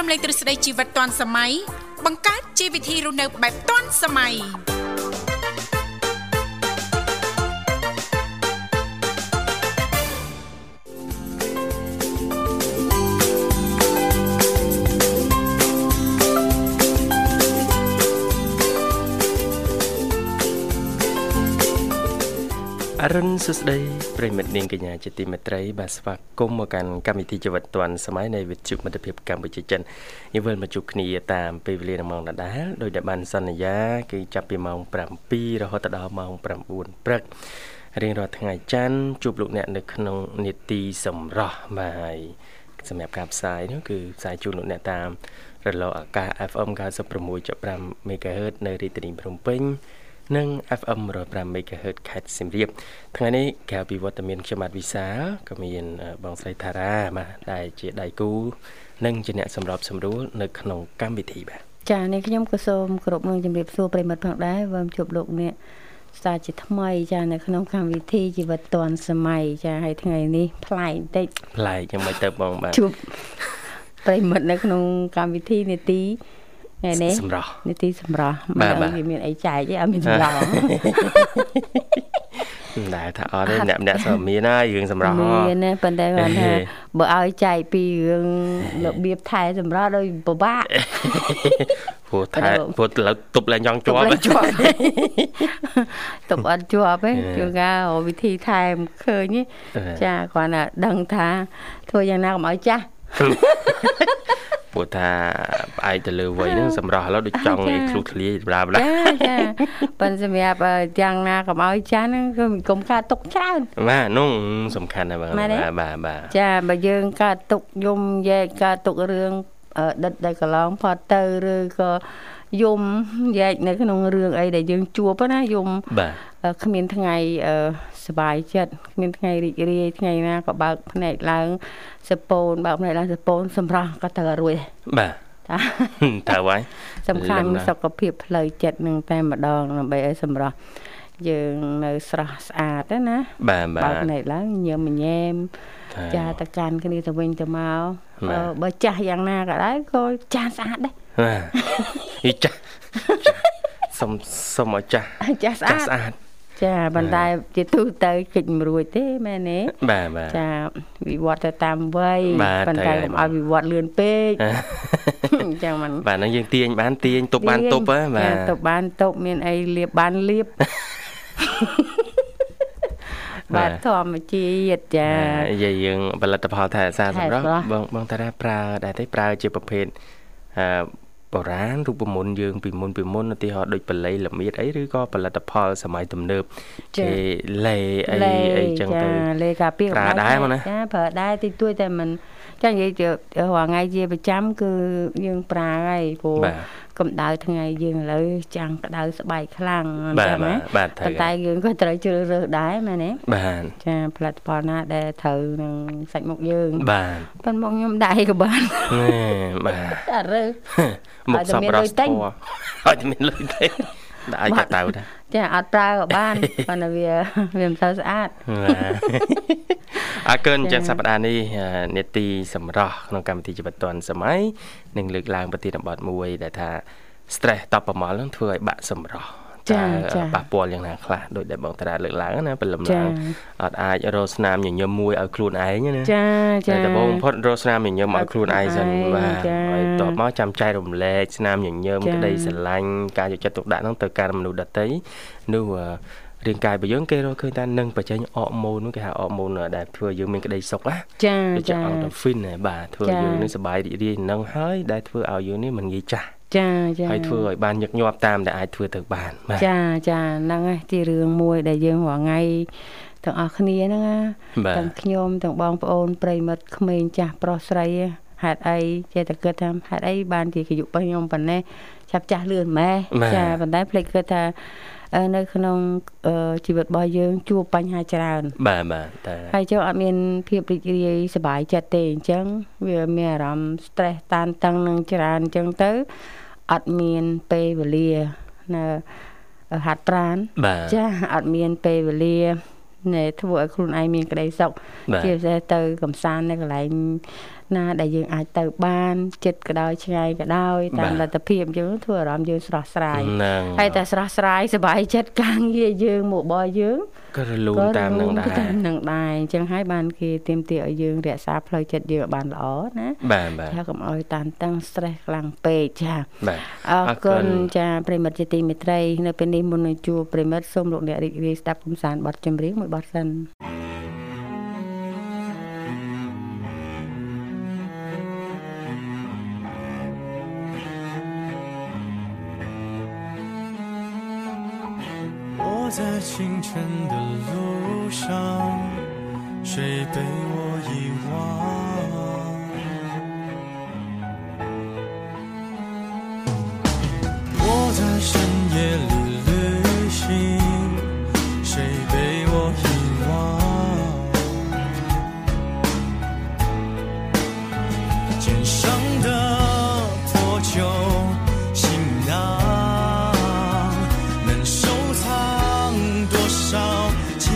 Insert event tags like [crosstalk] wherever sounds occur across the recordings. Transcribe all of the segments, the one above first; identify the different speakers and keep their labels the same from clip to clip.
Speaker 1: លេងទ្រឹស្ដីជីវិតទាន់សម័យបង្កើតជីវវិធីរស់នៅបែបទាន់សម័យ
Speaker 2: អរុនសួស្ដីប្រិមិត្តនាងកញ្ញាជាទីមេត្រីបាទស្វាគមន៍មកកាន់កម្មវិធីជីវិតឌွန်សម័យនៃវិទ្យុមិត្តភាពកម្ពុជាចិនយើងវិលមកជួបគ្នាតាមពេលវេលានៃម៉ោងដដែលដោយដែលបានសន្យាគឺចាប់ពីម៉ោង7រហូតដល់ម៉ោង9ព្រឹករៀងរាល់ថ្ងៃច័ន្ទជួបលោកអ្នកនៅក្នុងនេតិសម្រស់បាទហើយសម្រាប់ការផ្សាយនោះគឺផ្សាយជូនលោកអ្នកតាមរលកអាកាស FM 96.5 MHz នៅរាជធានីភ្នំពេញនិង FM 105 MHz ខេត្តសៀមរាបថ្ងៃនេះក្រៅពីវត្តមានខ្ញុំបាទវិសាលក៏មានបងស្រីថារាបាទដែលជាដៃគូនិងជាអ្នកសម្របសម្រួលនៅក្នុងកម្មវិធីបាទ
Speaker 3: ចានេះខ្ញុំក៏សូមគោរពនឹងជម្រាបសួរប្រិមត្តផងដែរវឹមជួបលោកអ្នកស្ដាប់ជាថ្មីចានៅក្នុងកម្មវិធីជីវិតឌွန်សម័យចាហើយថ្ងៃនេះប្លែកបន្តិច
Speaker 2: [laughs] ប្លែកយ៉ាងម៉េចទៅបងបាទ
Speaker 3: ជួបប្រិមត្តនៅក្នុងកម្មវិធីនេតិថ្ងៃនេះ
Speaker 2: សម្រាប់
Speaker 3: នីតិសម្រាប់
Speaker 2: បា
Speaker 3: មិន
Speaker 2: ទ
Speaker 3: ដឹង
Speaker 2: បាទ
Speaker 3: វាមានអីចែកទេអត់មានសម្រាប់
Speaker 2: [laughs] មិនដែលថាអត់ទេអ្នកម្នាក់ក៏មានហើយរឿងសម្រាប់
Speaker 3: មានណាប៉ុន្តែគាត់
Speaker 2: [laughs]
Speaker 3: ថា
Speaker 2: ហេ
Speaker 3: បើឲ្យចែកពីរឿងរបៀបថែសម្រាប់ដោយពិបា
Speaker 2: [laughs]
Speaker 3: ក [laughs]
Speaker 2: ព្រោះថា
Speaker 3: បង
Speaker 2: ព្រោះលើកទប់ឡើងចង់ជាប់
Speaker 3: ទប់ [laughs] ទប់អត់ជាប់ទេ
Speaker 2: ហេ
Speaker 3: ជួនកាលរកវិធីថែមិនឃើញទេ
Speaker 2: ហេ
Speaker 3: ចាគាត់ថាដឹងថាធ្វើយ៉ាងណាកុំឲ្យចាស់
Speaker 2: [laughs] ព្រោះថាផ្អែកទៅលើវ័យហ្នឹងសម្រាប់ឥឡូវដូចចង់
Speaker 3: ចា៎
Speaker 2: ឲ្យឃ្លូឃ្លាយប្រាប់ឡា
Speaker 3: ចាចាប៉ុន្តែសម្រាប់អឺយ៉ាងណាកុំឲ្យចាស់ហ្នឹងគឺកុំខាតទុកច្រើន
Speaker 2: បាទនោះសំខាន់ណាស់បង
Speaker 3: ម៉ែ
Speaker 2: បាទ
Speaker 3: ទេ
Speaker 2: បាទបាទ
Speaker 3: ចាបើយើងកើតទុកយំយែកកើតទុករឿងអឺដិតដែលកន្លងផុតទៅឬក៏យំយែកនៅក្នុងរឿងអីដែលយើងជួបណាយំ
Speaker 2: បាទ
Speaker 3: អឺគ្មានថ្ងៃអឺសុបាយចិត្តគ្មានថ្ងៃរីករាយថ្ងៃណាក៏បើកភ្នែកឡើងសពូនបើកភ្នែកឡើងសពូនសម្រាប់ក៏ត្រូវរួចដែរ
Speaker 2: បាទ
Speaker 3: ចា
Speaker 2: [laughs] តើវ៉ៃ
Speaker 3: សំខាន់
Speaker 2: លំដាប់
Speaker 3: សុខភាពផ្លូវចិត្តនឹងតែម្ដងដើម្បីឲ្យសម្រាប់យើងនៅស្រស់ស្អាតហ្នឹងណា
Speaker 2: បាទបា
Speaker 3: បើ
Speaker 2: ទ
Speaker 3: កភ្នែកឡើងញើមញែម ចាតកាន់គ្នាទៅវិញទៅមក
Speaker 2: បាទ
Speaker 3: បើបើចាស់យ៉ាងណាក៏ដែរក៏ចាស់ស្អាតដែរ [laughs]
Speaker 2: បាទយីចាស់ចាស់សុំសុំឲ្យចាស់
Speaker 3: ចាស់
Speaker 2: ចា
Speaker 3: ស្អា
Speaker 2: ស់
Speaker 3: ត
Speaker 2: ស្អាត
Speaker 3: ចាប៉ុន្តែជាទូទៅគេចមិនរួចទេមែនទេ
Speaker 2: បាទបាទ
Speaker 3: ចាវិវត្តទៅតាមវ័យ
Speaker 2: បាទ
Speaker 3: ប៉ុន្តែ
Speaker 2: ទៅហើយ
Speaker 3: កុំឲ្យវិវត្តលឿនពេក [laughs] ចឹងមិន
Speaker 2: បាទហ្នឹងយើងទាញបានទាញទប់បានទប់ហ៎បាទ
Speaker 3: ចាទប់បានទប់មានអីលៀបបាន
Speaker 2: [laughs]
Speaker 3: លៀបបាទធម្មជាតិចា
Speaker 2: បាទនិយាយយើងផលិតផលថែរក្សាសម្រាប់
Speaker 3: ថែរក្សា
Speaker 2: បងបងតារាប្រើដែរទេប្រើជាប្រភេទអឺបុរាណរូបមន្តយើងពីមុនពីមុនឧទាហរណ៍ដូចបល័យល្មៀតអីឬក៏ផលិតផល សម័យទំនើបគេលេអីអីចឹងទៅ
Speaker 3: លេកាពី
Speaker 2: ប្រើដែរមកណា
Speaker 3: ចាប្រើដែរតិចតួចតែមិនចានិយាយទៅរាល់ថ្ងៃជាប្រចាំគឺយើងប្រើហើយព្រោះ
Speaker 2: បាទ
Speaker 3: កម្ដៅថ្ងៃយើងឥឡូវចាំងក្ដៅស្បែកខ្លាំងអ
Speaker 2: បាទ
Speaker 3: ញ្ចឹងណា
Speaker 2: បាទបាទត្រូ
Speaker 3: ប៉ុន្តែ
Speaker 2: វ
Speaker 3: យើងក៏ត្រូវជ្រើសរើសដែរមែនទេ
Speaker 2: បាទ
Speaker 3: ចាផលិតផលណាដែលត្រូវនឹងសាច់មុខយើង
Speaker 2: បាទ
Speaker 3: ប៉ុន្តែមុខខ្ញុំដែរក៏បាន [laughs]
Speaker 2: ណែបាទ
Speaker 3: តែរើស
Speaker 2: មុខ
Speaker 3: [laughs]
Speaker 2: ស
Speaker 3: ឲ្យតែមា
Speaker 2: ប្បុរ [laughs]
Speaker 3: នលុយ
Speaker 2: ស
Speaker 3: ទិ
Speaker 2: ធ
Speaker 3: ញ
Speaker 2: ម៌ឲ្យតែមានលុយ
Speaker 3: [laughs]
Speaker 2: ទេដាក់ឲ្យ
Speaker 3: បា
Speaker 2: កា
Speaker 3: ត់
Speaker 2: តៅដែរ [laughs]
Speaker 3: ចាអត់ប្រើក៏បាន ប៉ុន្តែវា [laughs] វាមិនសូវស្អាត
Speaker 2: អរគុណចឹងសប្តាហ៍នេះអឺនេតិសម្រាប់ក្នុងកម្មវិធីជីវិតឌွန်សម័យនឹងលើកឡើងប្រធានបទមួយ ដែលថា stress តបប្រមល់នឹងធ្វើឲ្យបាក់សម្រស់
Speaker 3: ចាចា
Speaker 2: តើប៉ះពាល់យ៉ាងណាខ្លះដោយដែលបងតារាលើកឡើងណាព្រលឹម
Speaker 3: ចា
Speaker 2: ឡើងអត់អាចរកស្នាមញញឹមមួយឲ្យខ្លួនឯងណា
Speaker 3: ចា
Speaker 2: ចា
Speaker 3: ចា
Speaker 2: ដំបូងបំផុតរកស្នាមញញឹមឲ្យខ្លួនឯងសិន
Speaker 3: ឲ្យខ្លួនឯង
Speaker 2: បាទ
Speaker 3: ចា
Speaker 2: ហើយតបមកចាំចែករំលែកស្នាមញញឹម
Speaker 3: ចា
Speaker 2: ក្តីស្រឡាញ់ការយកចិត្តទុកដាក់ហ្នឹងទៅការមនុស្សដតីនោះអឺរាងកាយរបស់យើងគេរកឃើញថានឹងបញ្ចេញអរម៉ូននោះគេហៅអរម៉ូនដែលធ្វើឲ្យយើងមានក្តីសុខណា
Speaker 3: ចា
Speaker 2: ដូចជា
Speaker 3: ចា
Speaker 2: អង់ដូហ្វីនដែរបាទធ្វើ
Speaker 3: ចា
Speaker 2: ឲ្យយើងនឹងសប្បាយរីករាយនឹងហើយដែលធ្វើឲ្យយើងនេះមិនងាយចាស់
Speaker 3: ចាចា
Speaker 2: ហើយធ្វើឲ្យបានញឹកញាប់តាមដែលអាចធ្វើទៅបានបាទ
Speaker 3: ចាចាហ្នឹងហើយជារឿងមួយដែលយើងរាល់ថ្ងៃទាំងអស់គ្នាហ្នឹងណា
Speaker 2: បាទ
Speaker 3: ទាំងខ្ញុំទាំងបងប្អូនប្រិយមិត្តក្មេងចាស់ប្រុសស្រីហេតុអីចេះតែគិតថាហេតុអីបានជាអាយុរបស់ខ្ញុំប៉ុណ្ណេះចាប់ចាស់លឿនម៉ែ
Speaker 2: បាទ
Speaker 3: ចាប៉ុន្តែភ្លេចគិតថាអឺនៅក្នុងអឺជីវិតរបស់យើងជួបបញ្ហាច្រើន
Speaker 2: បាទបាទតែ
Speaker 3: ហើយចូលអត់មានភាពរីករាយសប្បាយចិត្តទេអញ្ចឹងវាមានអារម្មណ៍ stress តានតឹងនឹងច្រើនអញ្ចឹងទៅអត់មានពេលវេលានៅហាត់ប្រាណ
Speaker 2: បាទ
Speaker 3: ចាអត់មានពេលវេលានៃធ្វើឲ្យខ្លួនឯងមានក្តីសុខ
Speaker 2: បាទ
Speaker 3: ជាពិសេសទៅកំសាន្តនៅកន្លែង ណាដែលយើងអាចទៅបានចិត្តក៏ដោយឆ្ងាយក៏ដោយតាម
Speaker 2: បា
Speaker 3: ល
Speaker 2: ទ
Speaker 3: ទ្ធភាពអញ្ចឹងធ្វើអារម្មណ៍យើងស្រស់ស្រាយ
Speaker 2: ហ្នឹង
Speaker 3: ហើយតែស្រស់ស្រាយសប្បាយចិត្តកាងារយើងមកបស់យើង
Speaker 2: ក៏រលូនតាមនឹងដែរ
Speaker 3: តាមនឹងដែរអញ្ចឹងហើយបានគេទៀមទាឲ្យយើងរក្សាផ្លូវចិត្តយើងឲ្យបានល្អណា
Speaker 2: បាទបាទ
Speaker 3: ថាកុំឲ្យតានតឹង stress ខ្លាំងពេកចា
Speaker 2: បាទ
Speaker 3: អរគុណចាប្រិមិត្តជាទីមេត្រីនៅពេលនេះមុននឹងជួបប្រិមិត្តសូមលោកអ្នករីករាយស្ដាប់កំសាន្តបទចម្រៀងមួយបទសិន
Speaker 4: 我在清晨的路上，谁被我遗忘？我在深夜里旅行，谁被我遗忘？肩上的破旧行囊，能收藏多少坚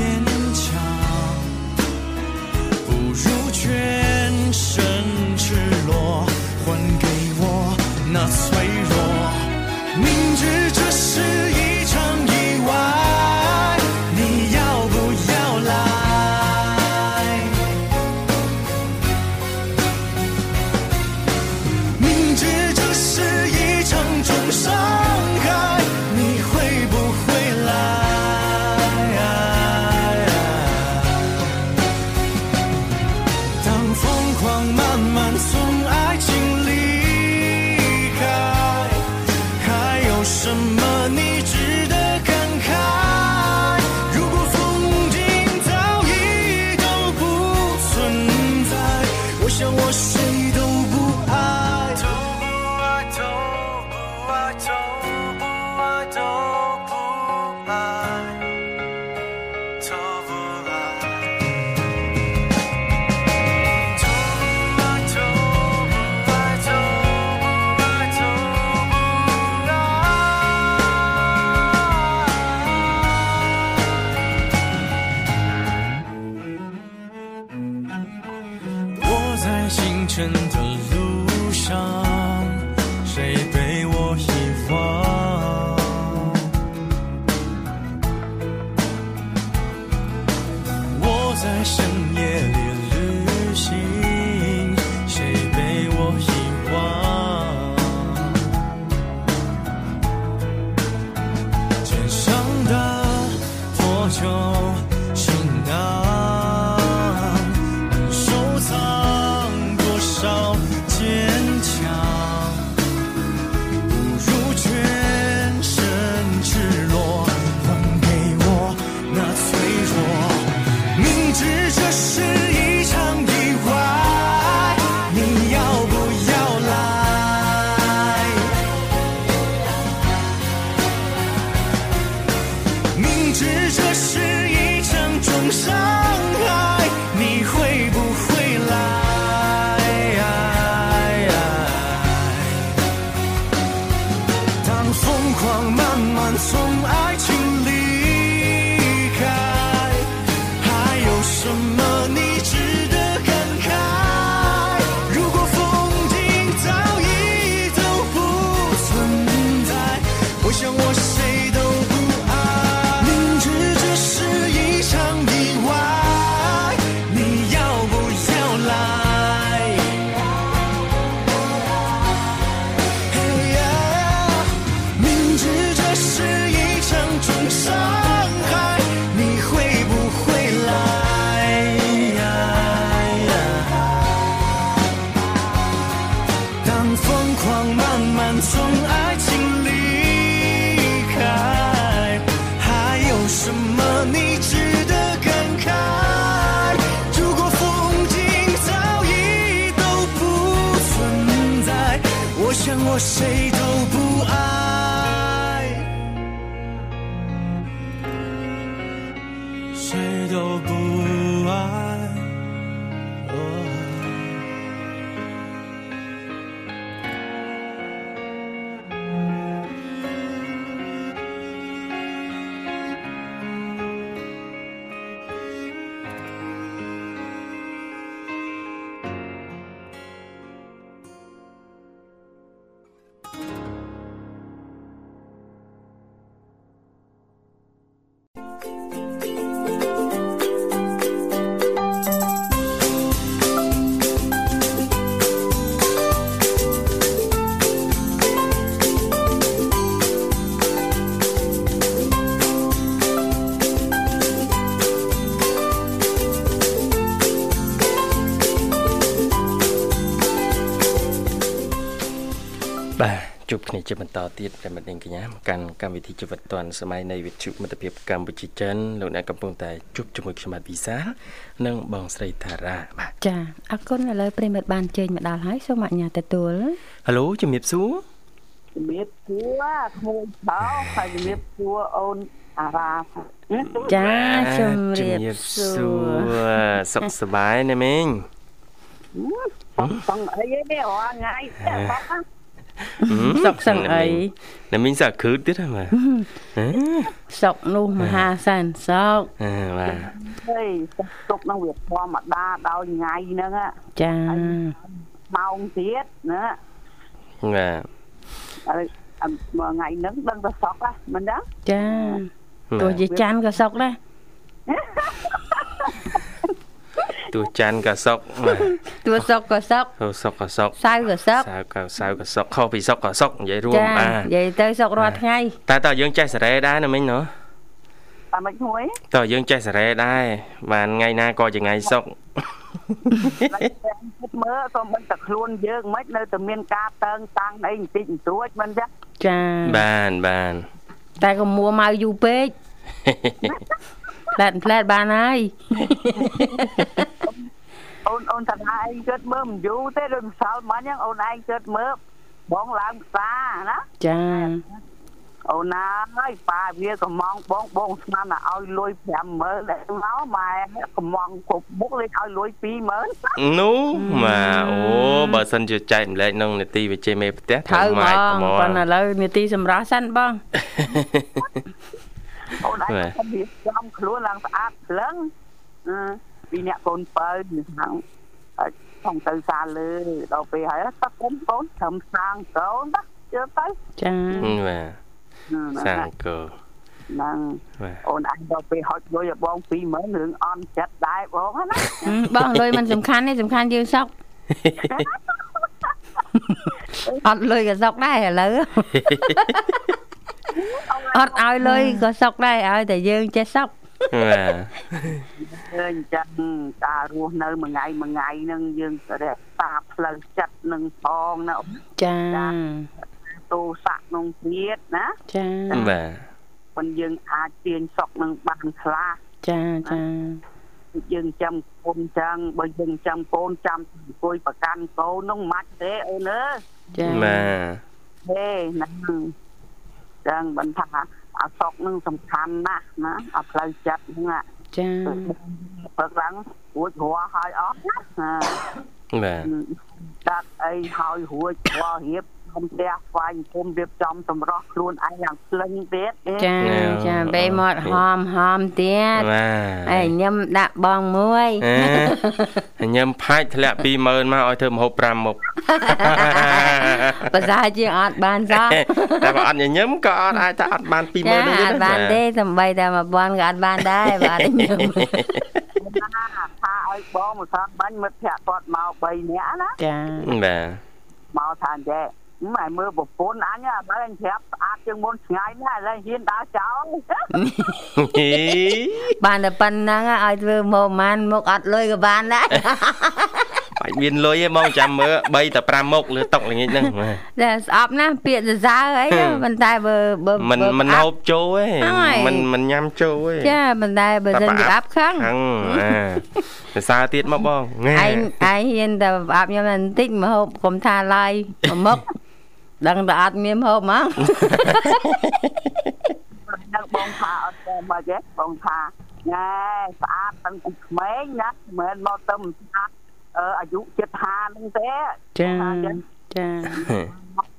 Speaker 4: 强？不如全身赤裸，还给我那脆弱。明知这是一场意外，你要不要来？明知这是一场重伤害，你会不会来？当疯狂慢慢从爱情离开，还有什么你值得感慨？如果风景早已都不存在，我想我谁都不爱，都不爱，都不爱，都不爱，都不爱，都不爱。Told I told I told I told I 我在清晨的路上，谁被我遗忘？我在深夜里旅行，谁被我遗忘？肩上的破旧行囊，能收藏多少坚强？不如全身赤裸，还给我那脆弱。明知这是一场意外，你要不要来？明知这是一场重伤害，你会不会来？当疯狂慢慢从爱情离开，还有什么你值得感慨？如果风景早已都不存在，我想我谁都不爱。明知这是一场意外，你要不要来？嘿呀，明知这是一场重伤害，你会不会来？当疯狂慢慢从爱情离开，还有什么你值得感慨？如果风景早已都不存在，我想我谁都不爱，谁都不爱。哦
Speaker 2: បាទជួបគ្នាជាបន្តទៀតប្រិមត្តនាងកញ្ញាកាន់កម្មវិធីជីវិតឌွန်សម័យនៃវិទ្យុមិត្តភាពកម្ពុជាចិនលោកអ្នកកំពុងតែជួបជាមួយខ្ញុំបាទវិសាលនិងបងស្រីតារាបាទ
Speaker 3: ចាអរគុណឥឡូវប្រិមិត្តបានចេញមកដល់ហើយសូមអនុញ្ញាតទទួល
Speaker 2: ហៅឡូជំរាបសួរ
Speaker 5: ជំរាបសួរក្មួយបោហើយជំរាបសួរអូនអារ៉ាផង
Speaker 3: ចាជំរាបសួរ
Speaker 2: សុខសប្បាយណាមីង
Speaker 5: បងបងអីទេអស់ថ្ងៃតែបង
Speaker 3: សុខសឹងអី
Speaker 2: ណាមីងសាក់គ្រឹតទៀតហ៎បាទ
Speaker 3: សុខនោះមហាសែនសុខ
Speaker 2: អឺបាទ
Speaker 5: ហេសុខទុកនឹងវាធម្មតាដល់ថ្ងៃហ្នឹងហ៎
Speaker 3: ចា
Speaker 5: ម៉ោងទៀតណា
Speaker 2: បាទ
Speaker 5: ឥឡូវអឺមួយថ្ងៃហ្នឹងដឹងតែសុខហ៎មិនដឹង
Speaker 3: ចាទោះជាច័ន្ទក៏សុខដែរ
Speaker 2: ទោះច័ន្ទក៏សុខបាទ
Speaker 3: ទោះសុខក៏សុខ
Speaker 2: ទោះសុខក៏សុខ
Speaker 3: សៅរ៍ក៏សុខ
Speaker 2: សៅរ៍ក៏សៅរ៍ក៏សុខខុសពីសុខក៏សុខនិយាយរួមបាទ
Speaker 3: និយាយទៅសុខរាល់ថ្ងៃ
Speaker 2: តែតើយើងចេះសារ៉េដែរណាមិញណោះ
Speaker 5: តែមិនហួយ
Speaker 2: តើយើងចេះសារ៉េដែរបានថ្ងៃណាក៏ជាថ្ងៃសុខ
Speaker 5: តែគិតមើលក៏មិនតែខ្លួនយើងមិននៅតែមានការតើងតាំងអីបន្តិចបន្តួចមិនចឹង
Speaker 3: ចា
Speaker 2: បាន
Speaker 3: [laughs]
Speaker 2: បាន
Speaker 3: តែក៏មួម៉ៅយូរពេកផ្លែតផ្លែតបានហើយ
Speaker 5: អូនអូនតាឯងគិតមើលមិនយូរទេដូចម្សិលមិញហ្នឹងអូនឯងគិតមើលបងឡើងផ្សារណា
Speaker 3: ចា
Speaker 5: អូនណាហើយប៉ាវាកំងបងបងស្មានតែឲ្យលុយ50000ដែរមកម៉ែកំងគ្រប់មុខលេខឲ្យលុយ20000
Speaker 2: នោះមកអូបើសិនជាចែកម្លែកក្នុងនីតិវិជ័យមេផ្ទះ
Speaker 3: ត្រូវហ្ម
Speaker 2: ក
Speaker 3: ងប៉ុ
Speaker 2: [laughs]
Speaker 3: ន្តែឥឡូវនាទីសម្រាប់សិនបង
Speaker 5: អូនឯងខ្ញុំវាចំខ្លួនឡើងស្អាតភ្លឹងអឺពីអ្នកកូនបើនឹងហាងផងទៅសាលើដល់ពេលហើយតើកូនកូនត្រឹមសាងកូនតើជឿទៅ
Speaker 3: ចា
Speaker 2: បាទសាអង្គរ
Speaker 5: ហ្នឹង
Speaker 2: បាទ
Speaker 5: អូនឯងដល់ពេលហត់លុយឲ្យបង20000រឿងអន់ចិត្តដែរបងណា
Speaker 3: អឺបងលុយมันសំខាន់ទេសំខាន់យើងសុខអត់លុយក៏សុខដែរឥឡូវអត់ឲ្យលុយក៏សុខដែរឲ្យតែយើងចេះសុខ
Speaker 2: បាទ
Speaker 5: ឃើញអញ្ចឹងការរស់នៅមួយថ្ងៃមួយថ្ងៃហ្នឹងយើងរក្សាផ្លូវចិត្តនឹងផងណា
Speaker 3: ចា
Speaker 5: ទោសៈក្នុងទៀតណា
Speaker 3: ចា
Speaker 2: បាទ
Speaker 5: ប៉ុនយើងអាចទាញសុកនឹងបានខ្លះ
Speaker 3: ចាចា
Speaker 5: យើងចាំកូនចឹងបើយើងចាំកូនចាំអង្គុយប្រកាន់កូននោះមិនទេអូនអើយ
Speaker 3: ចា
Speaker 2: បាទ
Speaker 5: ហេណាចឹងបន្តថាអាសុកនឹងសំខាន់ណាស់ណាអាផ្លូវចិត្តហ្នឹងណា
Speaker 3: ចា
Speaker 5: ព្រឹកឡើងរួចរាល់ហើយអស់ណាណា
Speaker 2: បាទ
Speaker 5: ដាក់អីហើយរួ [laughs] ចរាល់រៀបខ្ញុំផ្ទះស្វែងគុំរៀបចំសម្រស់ខ្លួនឯងយ៉ាងផ្លឹងទៀតអេ
Speaker 3: ចាចាបេមកហមហមទៀត
Speaker 2: បាទ
Speaker 3: អេញ៉ាំដាក់បងមួយ
Speaker 2: អញញ៉ាំផាច់ធ្លាក់20000មកឲ្យធ្វើម្ហូប5មុខ
Speaker 3: [laughs] ប្រសាជាងអត់បានសោះ
Speaker 2: តែបើអត់ញញឹមក៏អត់អាចថាអត់បាន20000ទេ
Speaker 3: ចាអត់បានទេសំបីតែមួយពាន់ក៏អត់បាន
Speaker 2: [laughs]
Speaker 3: ដែរបើអត់ញ៉ាំ [laughs]
Speaker 5: ថាថាឲ្យបងមកសាក់បាញ់មិត្តភក្តិគាត់មក3នាក់ណា
Speaker 3: ចា
Speaker 2: បាទ
Speaker 5: មកថាអញ្ចេះម៉ែមើលប្រពន្ធអញអាបើអញប្រាប់ស្អាតជាងមុនឆ្ងាយណាស់ឥឡូវហ៊ានដើរចោល
Speaker 2: ហី
Speaker 3: បានតែប៉ុណ្ណឹងឲ្យធ្វើម៉ូម៉ានមុខអត់លុយក៏បានដែរ [laughs]
Speaker 2: បាច់មានលុយទេមកចាំមើល3ទៅ5មុខលើតុកល្ងាចហ្នឹងបាទ
Speaker 3: តែស្អប់ណាស់ពាក្យសរសើរអីណា ប៉ុន្តែបើបើ
Speaker 2: មិន
Speaker 3: បើ
Speaker 2: មិន
Speaker 3: ផ្អា
Speaker 2: ហូ
Speaker 3: ប់
Speaker 2: បចូលទេ
Speaker 3: ហើយ
Speaker 2: មិនមិនញ៉ាំចូលទេ
Speaker 3: ចាប៉ុន្តែបើសិនជាអាប់ខឹង
Speaker 2: ហឹ
Speaker 3: [laughs]
Speaker 2: ងអាសរសើរទៀតមក [laughs] បងងែ
Speaker 3: ឯងឯងហ៊ានតែអាប់ខ្ញុំតែបន្តិចមកហូបកុំថាឡើយមកមុខ ដឹងតែអត់មានហូបហ្មង
Speaker 5: ដល់បងថាអត់ទៅមកទេបងថាណែស្អាតទាំងពីក្មេងណាមិនមែនមកទៅមិនស្អាតអឺអាយុ75ហ្នឹងទេ
Speaker 3: ចា
Speaker 5: ថាអញ្ចឹង
Speaker 3: ចា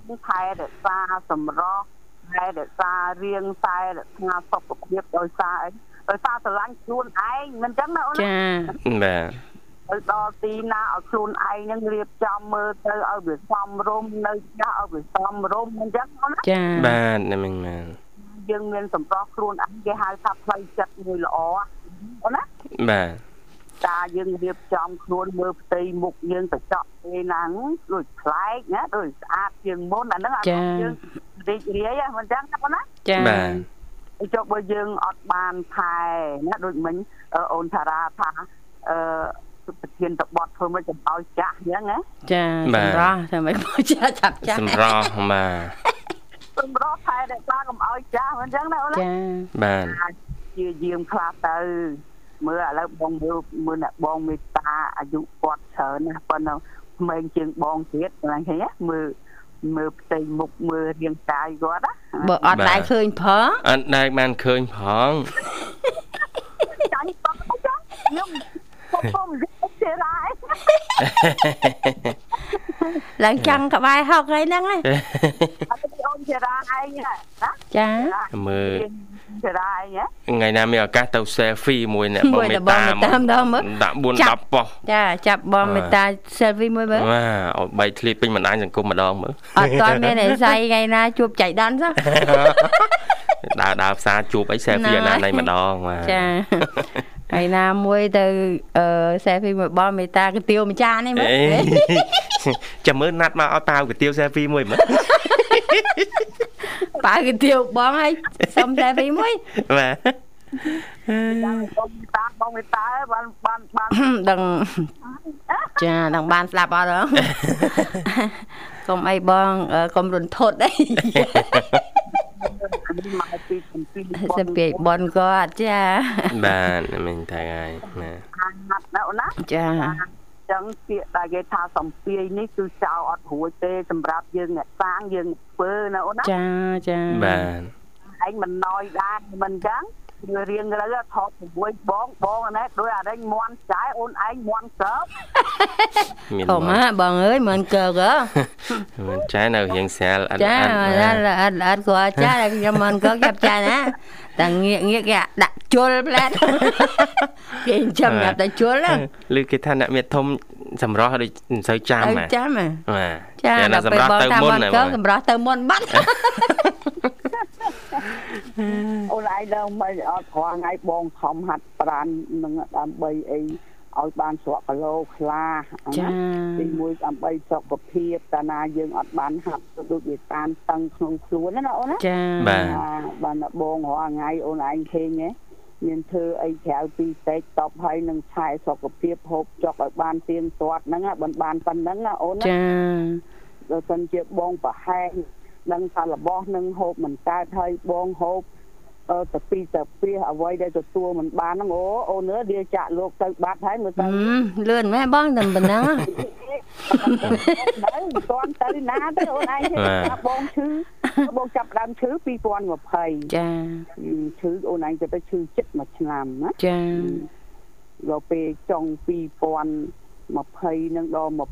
Speaker 5: មកថែរក្សាសម្រស់ថែរក្សារាងតែរក្សាសុខភាពដោយសារអីដោយសារស្រឡាញ់ខ្លួនឯងមិនអញ្ចឹងណាអូនណា
Speaker 3: ចា
Speaker 2: បាទ
Speaker 5: ទៅដល់ទីណាឲ្យខ្លួនឯងនឹងរៀបចំមើលទៅឲ្យវាសមរម្យនៅចាស់ឲ្យវាសមរម្យអញ្ចឹងណា
Speaker 3: ចា
Speaker 2: បាទណាមិញបាទ
Speaker 5: យើងមានសម្រស់ខ្លួនអីគេហៅថាផ្លូវចិត្តមួយល្អអូនណា
Speaker 2: បាទ
Speaker 5: តាយើងរៀបចំខ្លួនមើលផ្ទៃមុខយើងកញ្ចក់ពេលណាហ្នឹងដូចប្លែកណាដូចស្អាតជាងមុនអាហ្នឹងអា
Speaker 3: ចា៎
Speaker 5: រម្មណ៍យើងរីករាយហ្នឹងមិនចឹងណាបងណា
Speaker 3: ចា៎
Speaker 2: បាទ
Speaker 5: ហើយចុះបើយើងអត់បានថែណាដូចមិញអឺអូនតារាថាអឺប្រធានតបត់ធ្វើមិនចំឲ្យចាស់អញ្ចឹងណា
Speaker 3: ចាសម្រាប់តែមិនបោះចាស់ចាប់ចាស់
Speaker 2: សម្រ
Speaker 3: [laughs]
Speaker 2: ស់បាទ
Speaker 5: សម្រស់ថែរក្សាកុំឲ្យចាស់មិនចឹងណាអូនណា
Speaker 3: ចា
Speaker 2: បាទ
Speaker 5: អាចជាយាមខ្លះទៅ មើលឥឡូវបងមើលមើលអ្នកបងមេត្តាអាយុគាត់ច្រើនណាស់ប៉ុន្តែក្មេងជាងបងទៀតហ្នឹងឃើញទេមើលមើលផ្ទៃមុខមើលរាងកាយគាត់ណា
Speaker 3: បើអត់ដែរឃើញផង
Speaker 2: អត់ដែរបានឃើញផង [laughs]
Speaker 5: ចាញ់បងអីចាខ្ញុំខ្ញុំខ្ញុំយកសេរ៉ាអី
Speaker 3: ឡើងចាំងក្បែរហុកហើយហ្នឹងឯង
Speaker 5: អត់ទៅអូនសេរ៉ាឯងណា
Speaker 3: ចា
Speaker 2: មើល
Speaker 5: សេរ៉ាឯងណា
Speaker 2: ថ្ងៃណាមានឱកាសទៅ selfie មួយអ្នកបង
Speaker 3: [laughs] មួយ
Speaker 2: មេ
Speaker 3: ត
Speaker 2: ត្
Speaker 3: បង
Speaker 2: តា
Speaker 3: មកតាមដល់មើល
Speaker 2: ដាក់
Speaker 3: ចាក់
Speaker 2: 4 10ប៉ុស្
Speaker 3: ចាចាប់បងមេតា selfie មួយមើល
Speaker 2: បាទឲ្យបែកធ្លាពេញបណ្ដាញសង្គមម្ដងមើល
Speaker 3: អត់ត
Speaker 2: [laughs]
Speaker 3: មានអីស័យថ្ងៃណាជួបចៃដន្យសោះ
Speaker 2: ដើរដើរផ្សារជួបអីសែពីអា
Speaker 3: ណ៎
Speaker 2: ណានៃម្ដងបាទ
Speaker 3: ចាថ្ងៃណាមួយទៅអឺ selfie មួយបងមេតាកាទៀវម្ចាស់នេះមើល
Speaker 2: អេចាំមើលណាត់មកឲ្យប៉ាវកាទៀវសែពីមួយមើល
Speaker 3: ប៉ាកាទៀវបងហើយសុំ selfie មួយ [laughs]
Speaker 2: បាទ
Speaker 5: បងមេត្តាបងមេត្តាបានបានបាន
Speaker 3: ដឹងចាដឹងបានស្ដាប់អត់ [laughs] ហ៎ កុំអីបងអឺកុំរន្ធត់ [laughs] អី
Speaker 5: មកពីកំពី
Speaker 3: សិពាយបនគាត់ចា
Speaker 2: បាទមិញថាហើយណា
Speaker 5: ខាងណាត់ណាអូនណា
Speaker 3: ចា
Speaker 5: ចឹងពាក្យដែលគេថាសំភាយនេះគឺចោលអត់រួចទេសម្រាប់យើងអ្នកសាងយើងធ្វើណាអូនណា
Speaker 3: ចាចា
Speaker 2: បាទ
Speaker 5: ឯងមិនណយដែរមិនចឹងវារៀងរើថតជាមួយបងបងណែដោយអារិញមន់ចាយអូនឯងមន់សើប
Speaker 2: មាន
Speaker 3: ធំហ៎បងអើយមិនកើកហ៎
Speaker 2: មិនចែនៅរៀងស្រាលអត់
Speaker 3: ចា
Speaker 2: អត់
Speaker 3: ឡា
Speaker 2: ណា
Speaker 3: នអត់អត់គាត់ចាតែខ្ញុំមិនកើកចាប់ចាណាតែងៀកងៀកគេដាក់ជុលផ្លែត [laughs] គេចាំញ៉ាំតែជុលហ្នឹង
Speaker 2: ឬគេថាអ្នកមានធំសម្រស់ដូចមិនសូវចាំ
Speaker 3: ឲ្យ
Speaker 2: ណា
Speaker 3: ចាំហ៎
Speaker 2: បាទ
Speaker 3: ចា
Speaker 2: តែណា
Speaker 3: ដល់
Speaker 2: ស
Speaker 3: ពេល
Speaker 2: ម្រាប់
Speaker 3: បង
Speaker 2: ទៅ
Speaker 3: ថា
Speaker 2: មុន
Speaker 3: មិន
Speaker 2: ណា
Speaker 3: កើ
Speaker 2: បាទ
Speaker 3: កសម្រាប់ទៅមុនបាត់
Speaker 5: អូនឯងដឹងមិនអត់ព្រោះថ្ងៃបងខំហាត់ប្រាននឹងដើម្បីអីឲ្យបានស្រក់គីឡូខ្លះ
Speaker 3: ចា
Speaker 5: ទីមួយដើម្បីសុខភាពតាណាយើងអត់បានហាត់ដូចវាតានតឹងក្នុងខ្លួនណាអូនណា
Speaker 3: ចា
Speaker 2: បាទ
Speaker 5: បានតែបងរាល់ថ្ងៃអូនឯងឃើញទេមានធ្វើអីក្រៅពីសេកតបហើយនឹងឆែសុខភាពហូបចុកឲ្យបានទៀងទាត់ហ្នឹងណាមិនបានប៉ុណ្ណឹងណាអូនណា
Speaker 3: ចា
Speaker 5: បើសិនជាបងប្រហែលនឹងថារបស់នឹងហូបមិនកើតហើយបងហូបអឺតែពីតែពីអ្វីដែលទទួលមិនបានហ្នឹងអូអូនអើយវាចាក់លោកទៅបាត់ហើយមើលទៅ
Speaker 3: ហឹមលឿនមែនបងតែប៉ុណ្ណឹងហ៎
Speaker 5: នៅមិនទាន់ទៅណាទេអូនឯងឃើញថាបងឈឺបងចាប់ផ្ដើមឈឺ2020
Speaker 3: ចា
Speaker 5: ឈឺអូនឯងទៅទៅឈឺចិត្តមួយឆ្នាំណា
Speaker 3: ចា
Speaker 5: ដល់ពេលចុង2020នឹងដល់21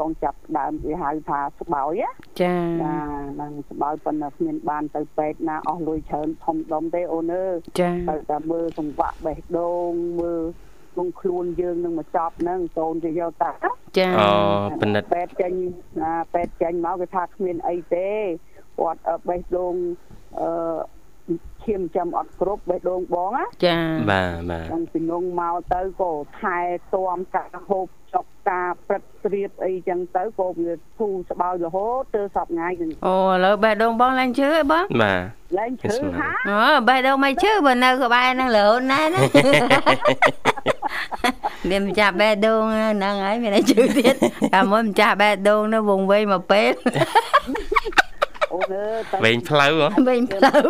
Speaker 5: បងចាប់ផ្ដើមគេហៅថាស្បោយ
Speaker 3: ចា
Speaker 5: ណាចានឹងស្បោយប៉ុន្តែគ្មានបានទៅពេទ្យណាអស់លុយច្រើនធំដុំទេអូនអើយ
Speaker 3: ចា
Speaker 5: ទៅតែមើលសង្វាក់បេះដូងមើលក្នុងខ្លួនយើងនឹងមកចប់ហ្នឹងកូនគេយកតា
Speaker 3: ចា
Speaker 2: អូពិនិត្យ
Speaker 5: ពេទ្យចេញណាពេទ្យចេញមកគេថាគ្មានអីទេគាត់អឺបេះដូងអឺឈាមចាំអត់គ្រប់បេះដូងបងណា
Speaker 3: ចា
Speaker 2: បាទបាទ
Speaker 5: ដល់ពីនុងមកទៅក៏ថែទាំការហូបចុកការព្រឹកព្រៀបអីចឹងទៅក៏វាធូរស្បើយរហូតទៅសប្ងាយនឹង
Speaker 3: អូឥឡូវបេះដូងបងឡើងឈឺអីបង
Speaker 2: បាទ
Speaker 5: ឡើងឈឺ
Speaker 2: ស្មើ
Speaker 5: ហា
Speaker 3: អូបេះដូងមិនឈឺបើនៅក្បែរហ្នឹងរហូតណែណា មានម្ចាស់បេះដូងហ្នឹងហើយមានអីឈឺ
Speaker 2: [laughs]
Speaker 3: ទៀតតែមួយម្ចាស់បេះដូងនៅវងវែងមកពេល [laughs]
Speaker 5: អូនអើយតាំង
Speaker 2: វិញផ្លូវហ៎
Speaker 3: វិញផ្លូវ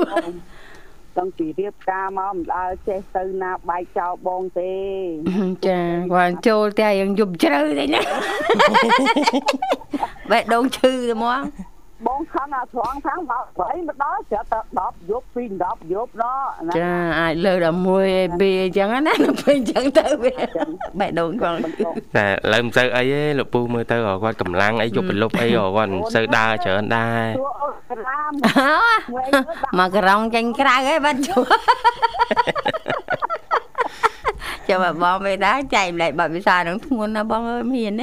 Speaker 5: តាំងពីរៀបការមកមិនដើរចេះទៅណាបែកចោលបងទេ
Speaker 3: ចាគាត់ចូលផ្ទះយើងយប់ជ្រៅទេណា [laughs] បេះដូងឈឺទេហ្មង
Speaker 5: បងខំអាស្រងខាងមកបីមកដល់ច្រត់ទៅ10យប់ពី10យប់ណោះណា
Speaker 3: ចាអាចលើកដល់មួយឯពីរអីចឹងណាដល់ពេលអញ្ចឹងទៅវាបេះដូងគាត់
Speaker 5: បងបង
Speaker 2: តែឥឡូវមិនសូវអីទេលោកពូមើលទៅគាត់កម្លាំងអីយកប្រលប់អីគាត់មិនសូវដើរច្រើនដែរ
Speaker 5: ទួអូនរាម
Speaker 3: អើ
Speaker 5: វិញទៅដាក់
Speaker 3: មកក្រុងចេញក្រៅឯងបាត់ជួ [laughs] ចាំមកបងមិនដែរចែកម្លែកបាត់វិសាលនឹងធ្ងន់ណាបងអើយមានទេ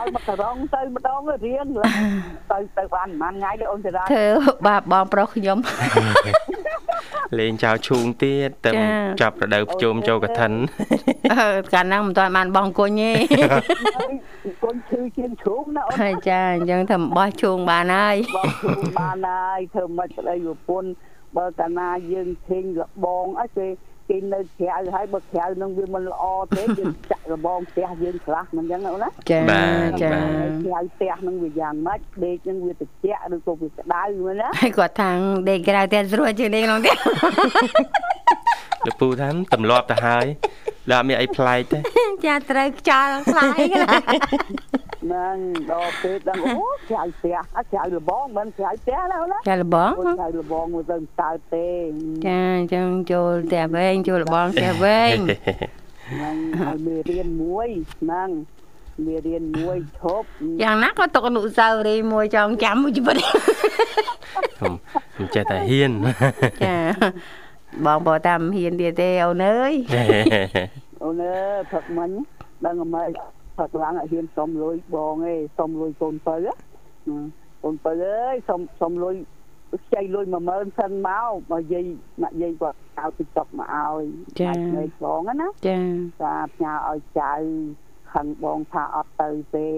Speaker 5: ឲ្យ មករងទៅម្ដងរៀនឡើងទៅទៅបានប្រហែលថ្ងៃទេអូនចរា
Speaker 3: [laughs] ធ្វើបាបបងប្រុសខ្ញុំ [laughs]
Speaker 2: លេងចោលឈូងទៀតទៅ
Speaker 3: ចា
Speaker 2: ចាប់រដូវភ្ជុំចូលកឋិន
Speaker 3: [laughs] អឺកាលហ្នឹងមិនទាន់បានបងគុញ [laughs] ទេ
Speaker 5: កូនឈឺជាងជ្រូកណាអូន
Speaker 3: ហើយចាអញ្ចឹងធ្វើបោះជូងបានហើយ
Speaker 5: បងគ្រូបានហើយធ្វើមិនក្តីប្រពន្ធបើកាលណាយើងឃើញរបងអីគេគេនៅក្រៅហើយបើក្រៅនឹងវាមិនល្អទេយើងចាក់របងផ្ទះយើងខ្លះមិនអញ្ចឹងណាអូនណា
Speaker 3: ចា
Speaker 2: បាទ
Speaker 3: ចា [laughs]
Speaker 2: បាទ
Speaker 5: ហើយក្រៅផ្ទះនឹងវាយ៉ាងម៉េចដេកនឹងវាត្រជាក់ឬក៏វាក្តៅមែនណា
Speaker 3: ហើយគាត់ថាងដេកក្រៅទៀតស្រួលជាងដេកក្នុងទៀត
Speaker 2: លោកពូថាទម្លាប់ទៅហើយដល់អត់មានអីប្លែកទេ
Speaker 3: [laughs] ចាត្រូវខ្យល់ខ្លាយខ្លាយ
Speaker 5: ហ្នឹងដល់ពេលដល់អូក្រៅផ្ទះអត់ក្រៅរបងមិនក្រៅផ្ទះណាអូនណា
Speaker 3: ចាលបង
Speaker 5: អូក្រៅរបងមកទៅមិនតើបទេ
Speaker 3: ចាអញ្ចឹងចូលតែវែងចូលលបងតែវែង
Speaker 2: [laughs]
Speaker 5: ហ្នឹងហើយមេរៀនមួយហ្នឹងមេរៀនមួយឈប់
Speaker 3: យ៉ាងណាក៏ຕົកអនុស្សាវរីយ៍មួយចងចាំមួយជីវិត
Speaker 2: ខ្ញុំខ្ញុំចេះតែហ៊ាន
Speaker 3: ចាបងបើតាមហ៊ានទៀតទេអូនអើយ
Speaker 5: អូនអើយផឹកមិញដឹងអីមកផឹកឡើងអត់ហ៊ានសុំលុយបងឯងសុំលុយកូនបើកូនបើអើយសុំសុំលុយខ្ចីលុយ10000សិនមកបើយាយម៉ាក់យាយគាត់កៅ TikTok មកឲ្យអាចមេផងណា
Speaker 3: ចា
Speaker 5: ចាផ្ញើឲ្យចៅខឹងបងថាអត់ទៅទេ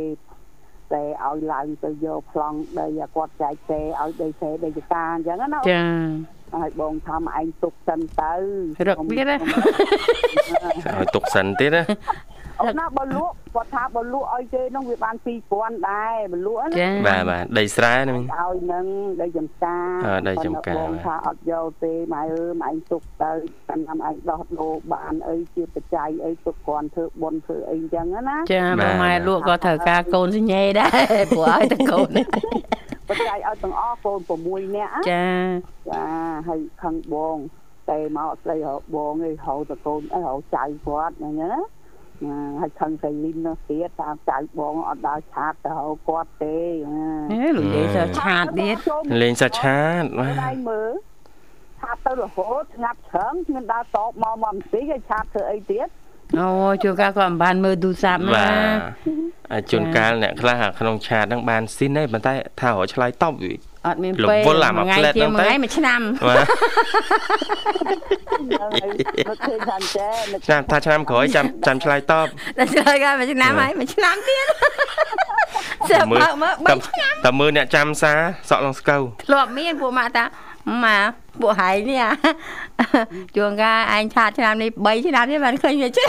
Speaker 5: តែឲ្យឡើងទៅយកប្លង់ដីឲ្យគាត់ចែកទេឲ្យដីទេដីចការអញ្ចឹងណា
Speaker 3: ចា
Speaker 5: ឲ្យបងថាឯងទុកសិនទៅ
Speaker 3: រកទៀតណា
Speaker 2: ឲ្យទុកសិនទៀតណា
Speaker 5: អត់ណាបើលក់គាត់ថាបើលក់ឲ្យគេនោះវាបាន2000ដែរបើលក់ណា
Speaker 3: ចា
Speaker 2: បាទបាទដីស្រែហ្នឹង
Speaker 5: ឲ្យនឹងដីចំការ
Speaker 2: អ่าដីចំការ
Speaker 5: បងថាអត់យកទេម៉ែអើយម៉ែឯងទុកទៅតាមឯងដោះដូរបានអីជាបច្ច័យអីទុកគ្រាន់ធ្វើបុណ្យធ្វើអីអញ្ចឹងណា
Speaker 3: ចាបងម៉ែលក់ក៏ត្រូវការកូនសញ្ញេដែរព្រោះ [laughs] ឲ្យតែកូន
Speaker 5: បច្ច័យឲ្យទាំងអស់កូន6នាក់ណា
Speaker 3: ចា
Speaker 5: ចាហើយខឹងបងតែមកស្ដីរកបងឯងហៅតកូនអីហៅចៅគាត់អញ្ចឹងណាណាហើយខឹងតែលីននោះទៀតតាមចៅបងអត់ដើរឆាតទៅហៅគាត់ទេណា
Speaker 3: ហេលោកយាយសើឆាតទៀត
Speaker 2: លេងសាច់ឆាតបា
Speaker 5: ឯ
Speaker 2: ទ
Speaker 5: ងមើលឆាតទៅរហូតស្ងាត់ច្រឹងគ្មានដើរតបមកមកបន្តិចហើយឆាតធ្វើអីទៀត
Speaker 3: អូជួនកាលក៏មិនបានមើលទូរស័ព្ទ
Speaker 2: បា
Speaker 3: ណា
Speaker 2: ទអាជួនកាលអ្នកខ្លះអាក្នុងឆាតហ្នឹងបានស៊ីនហើយប៉ុន្តែថារកឆ្លើយតបវិញ
Speaker 3: អត់មាន
Speaker 2: រវ
Speaker 3: ពេល
Speaker 2: ល់អាមួយផ្លែត
Speaker 3: ជា
Speaker 2: ហ្នឹង ង
Speaker 3: មួយ
Speaker 2: ទៅ
Speaker 3: ថ្ងៃមួយឆ្នាំ
Speaker 2: [laughs] បាទ
Speaker 5: ហ្នឹងហើយនឹកឃើញថាអញ្ចេះនឹក
Speaker 2: ឆ្នាំថាឆ្នាំក្រោយចាំចាំឆ្លើយតប
Speaker 3: ដល់ឆ្លើយកាលមួយឆ្នាំហើយមួយឆ្នាំទៀតសើបើកមើល
Speaker 2: ត
Speaker 3: បី
Speaker 2: តើមើលអ្នកចាំសារសក់ឡងស្កូវ
Speaker 3: ធ្លាប់មានពួកម៉ាក់តាម៉ាពួកហែងនេះអា [laughs] ជួនកាលឯងឆាតឆ្នាំនេះ3ឆ្នាំទៀតបានឃើញវាឆ្លើ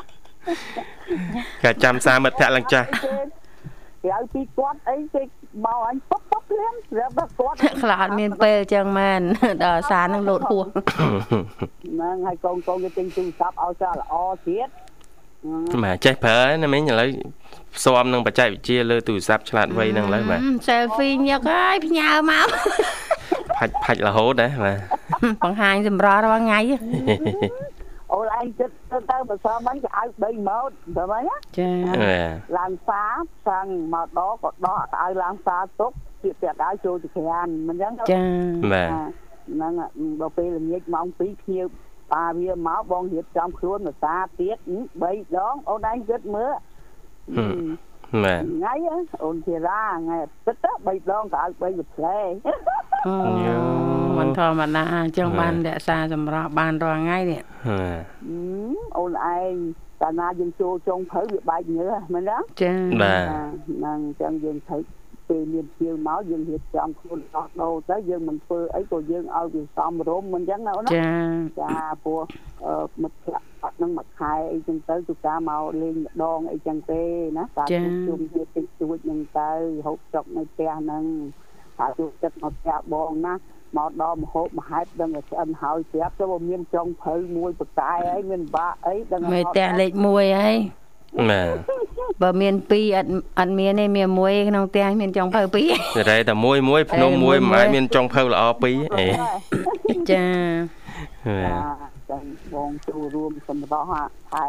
Speaker 3: យ
Speaker 2: គេចាំសារមិត្តភក្តិឡើងចាស់
Speaker 5: គេក្រៅពីគាត់អីគេមកអញពុកពុកភ្លាមប្រាប់ថាគាត់
Speaker 3: ខ្លាចអត់មានពេលចឹងមែ [laughs] ន ដល់សារនឹងលោតហួស
Speaker 5: ហ្នឹងហើយកូនកូនគេទិញទូរស័ព្ទឲ្យចាល្អទៀត
Speaker 2: បាទចេះប្រើហើយណាមិញឥឡូវផ្សំនឹងបច្ចេកវិទ្យាលើទូរស័ព្ទឆ្លាតវៃហ្នឹងឥឡូវបាទ
Speaker 3: ហឹម selfie ញឹកហើយផ្ញើ [laughs] មក
Speaker 2: ផាច់ផាច់រហូតដែរបាទ
Speaker 3: បង្ហាញសម្រស់រាល់ថ្ងៃ
Speaker 5: អូនឯងគិតទៅទៅបើសមមិញគេឲ្យ3ម៉ោតទៅមិញណា
Speaker 3: ចា
Speaker 5: ឡើងផ្សារផ្សាំងមកដល់ក៏ដកឲ្យឡើងផ្សារទុកទៀតទៀតឲ្យចូលចក្រានមិនអញ្ចឹង
Speaker 3: ចា
Speaker 5: ទៅ
Speaker 2: បាទ
Speaker 5: ហ្នឹងអ่ะដល់ពេលល្ងាចម៉ោង2ភ្ញៀវប៉ាវាមកបងរៀបចំខ្លួនភាសាទៀត3ដងអូនឯងគិតមើល
Speaker 2: បាទ
Speaker 5: ថ្ងៃហ៎អូនធីរាថ្ងៃអាទិត្យហ៎3ដងក៏ឲ្យ3ប្រផ្លែ
Speaker 3: អូ
Speaker 2: ញ៉ូ
Speaker 3: មិនធម្មតាអញ្ចឹងបានរក្សាសម្រស់បានរាល់ថ្ងៃនេះ
Speaker 2: បាទ
Speaker 5: ហឹមអូនឯងកាលណាយើងចូលចុងព្រៅវាបែកញើសមែនទេ
Speaker 3: ចា
Speaker 2: បាទ
Speaker 5: ហ្នឹងអញ្ចឹងយើងត្រូវពេលមានភ្ញៀវមកយើងរៀបចំខ្លួនដោះដូរទៅយើងមិនធ្វើអីក៏យើងឲ្យវាសមរម្យមិនអញ្ចឹងណាអូនណា
Speaker 3: ចា
Speaker 5: ចាព្រោះអឺមិត្តភក្តិអត់នឹងមួយខែអីចឹងទៅគឺការមកលេងម្ដងអីចឹងទេណាការជួបជុំគ្នាតិចតួចហ្នឹងទៅហូបចុកនៅផ្ទះហ្នឹងថាជួបចិត្តមកផ្ទះបងណាមកដល់មហូបមហែបដឹងតែស្អិនហើយប្រាប់ទៅបើមានចុងភៅមួយប្រកែអីមានបាក់អីដឹង
Speaker 3: មេផ្ទះលេខ1ហើយ
Speaker 2: បាទ
Speaker 3: បើមាន2អត់អត់មានទេមានមួយឯងក្នុងផ្ទះ [laughs] មានចុងភៅ2ឯង
Speaker 2: សេរីតែមួយមួយភ្នំមួយ
Speaker 3: អេ
Speaker 2: មិន
Speaker 3: មួយមួ
Speaker 2: អា
Speaker 3: យ
Speaker 2: ចមានចុងភៅល្អពីរអេ
Speaker 3: ចា
Speaker 2: បាទ
Speaker 5: ចាចឹងបងចូលរួមសម្រាប់ហ่ะខែ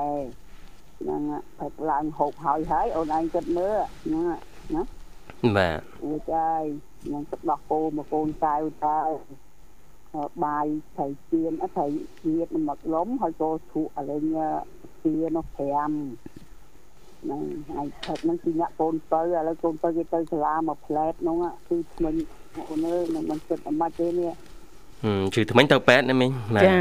Speaker 5: ហ្នឹងហ่ะផឹកឡើងហូបហើយហើយអូនឯងគិតមើលហ្នឹងហ่ะ
Speaker 2: បាទ
Speaker 5: អូចហើយខ្ញុំទឹកដោះគោមកកូនកៅតើបាយត្រីជៀនអត់ត្រីជៀនមកលំហើយចូលឈូកអលេងទានោះ5 ហ្នឹងហើយផឹកហ្នឹងគឺអ្នកកូនបើឥឡូវកូនបើគេទៅសាលាមកផ្លែតហ្នឹងអាគឺស្មិញអូនអើយមិនមិនគិតអាម៉េចទេនេះ
Speaker 2: ហឹមជឺថ្មិញទៅប៉ែតណាមីងបាទ
Speaker 3: ចា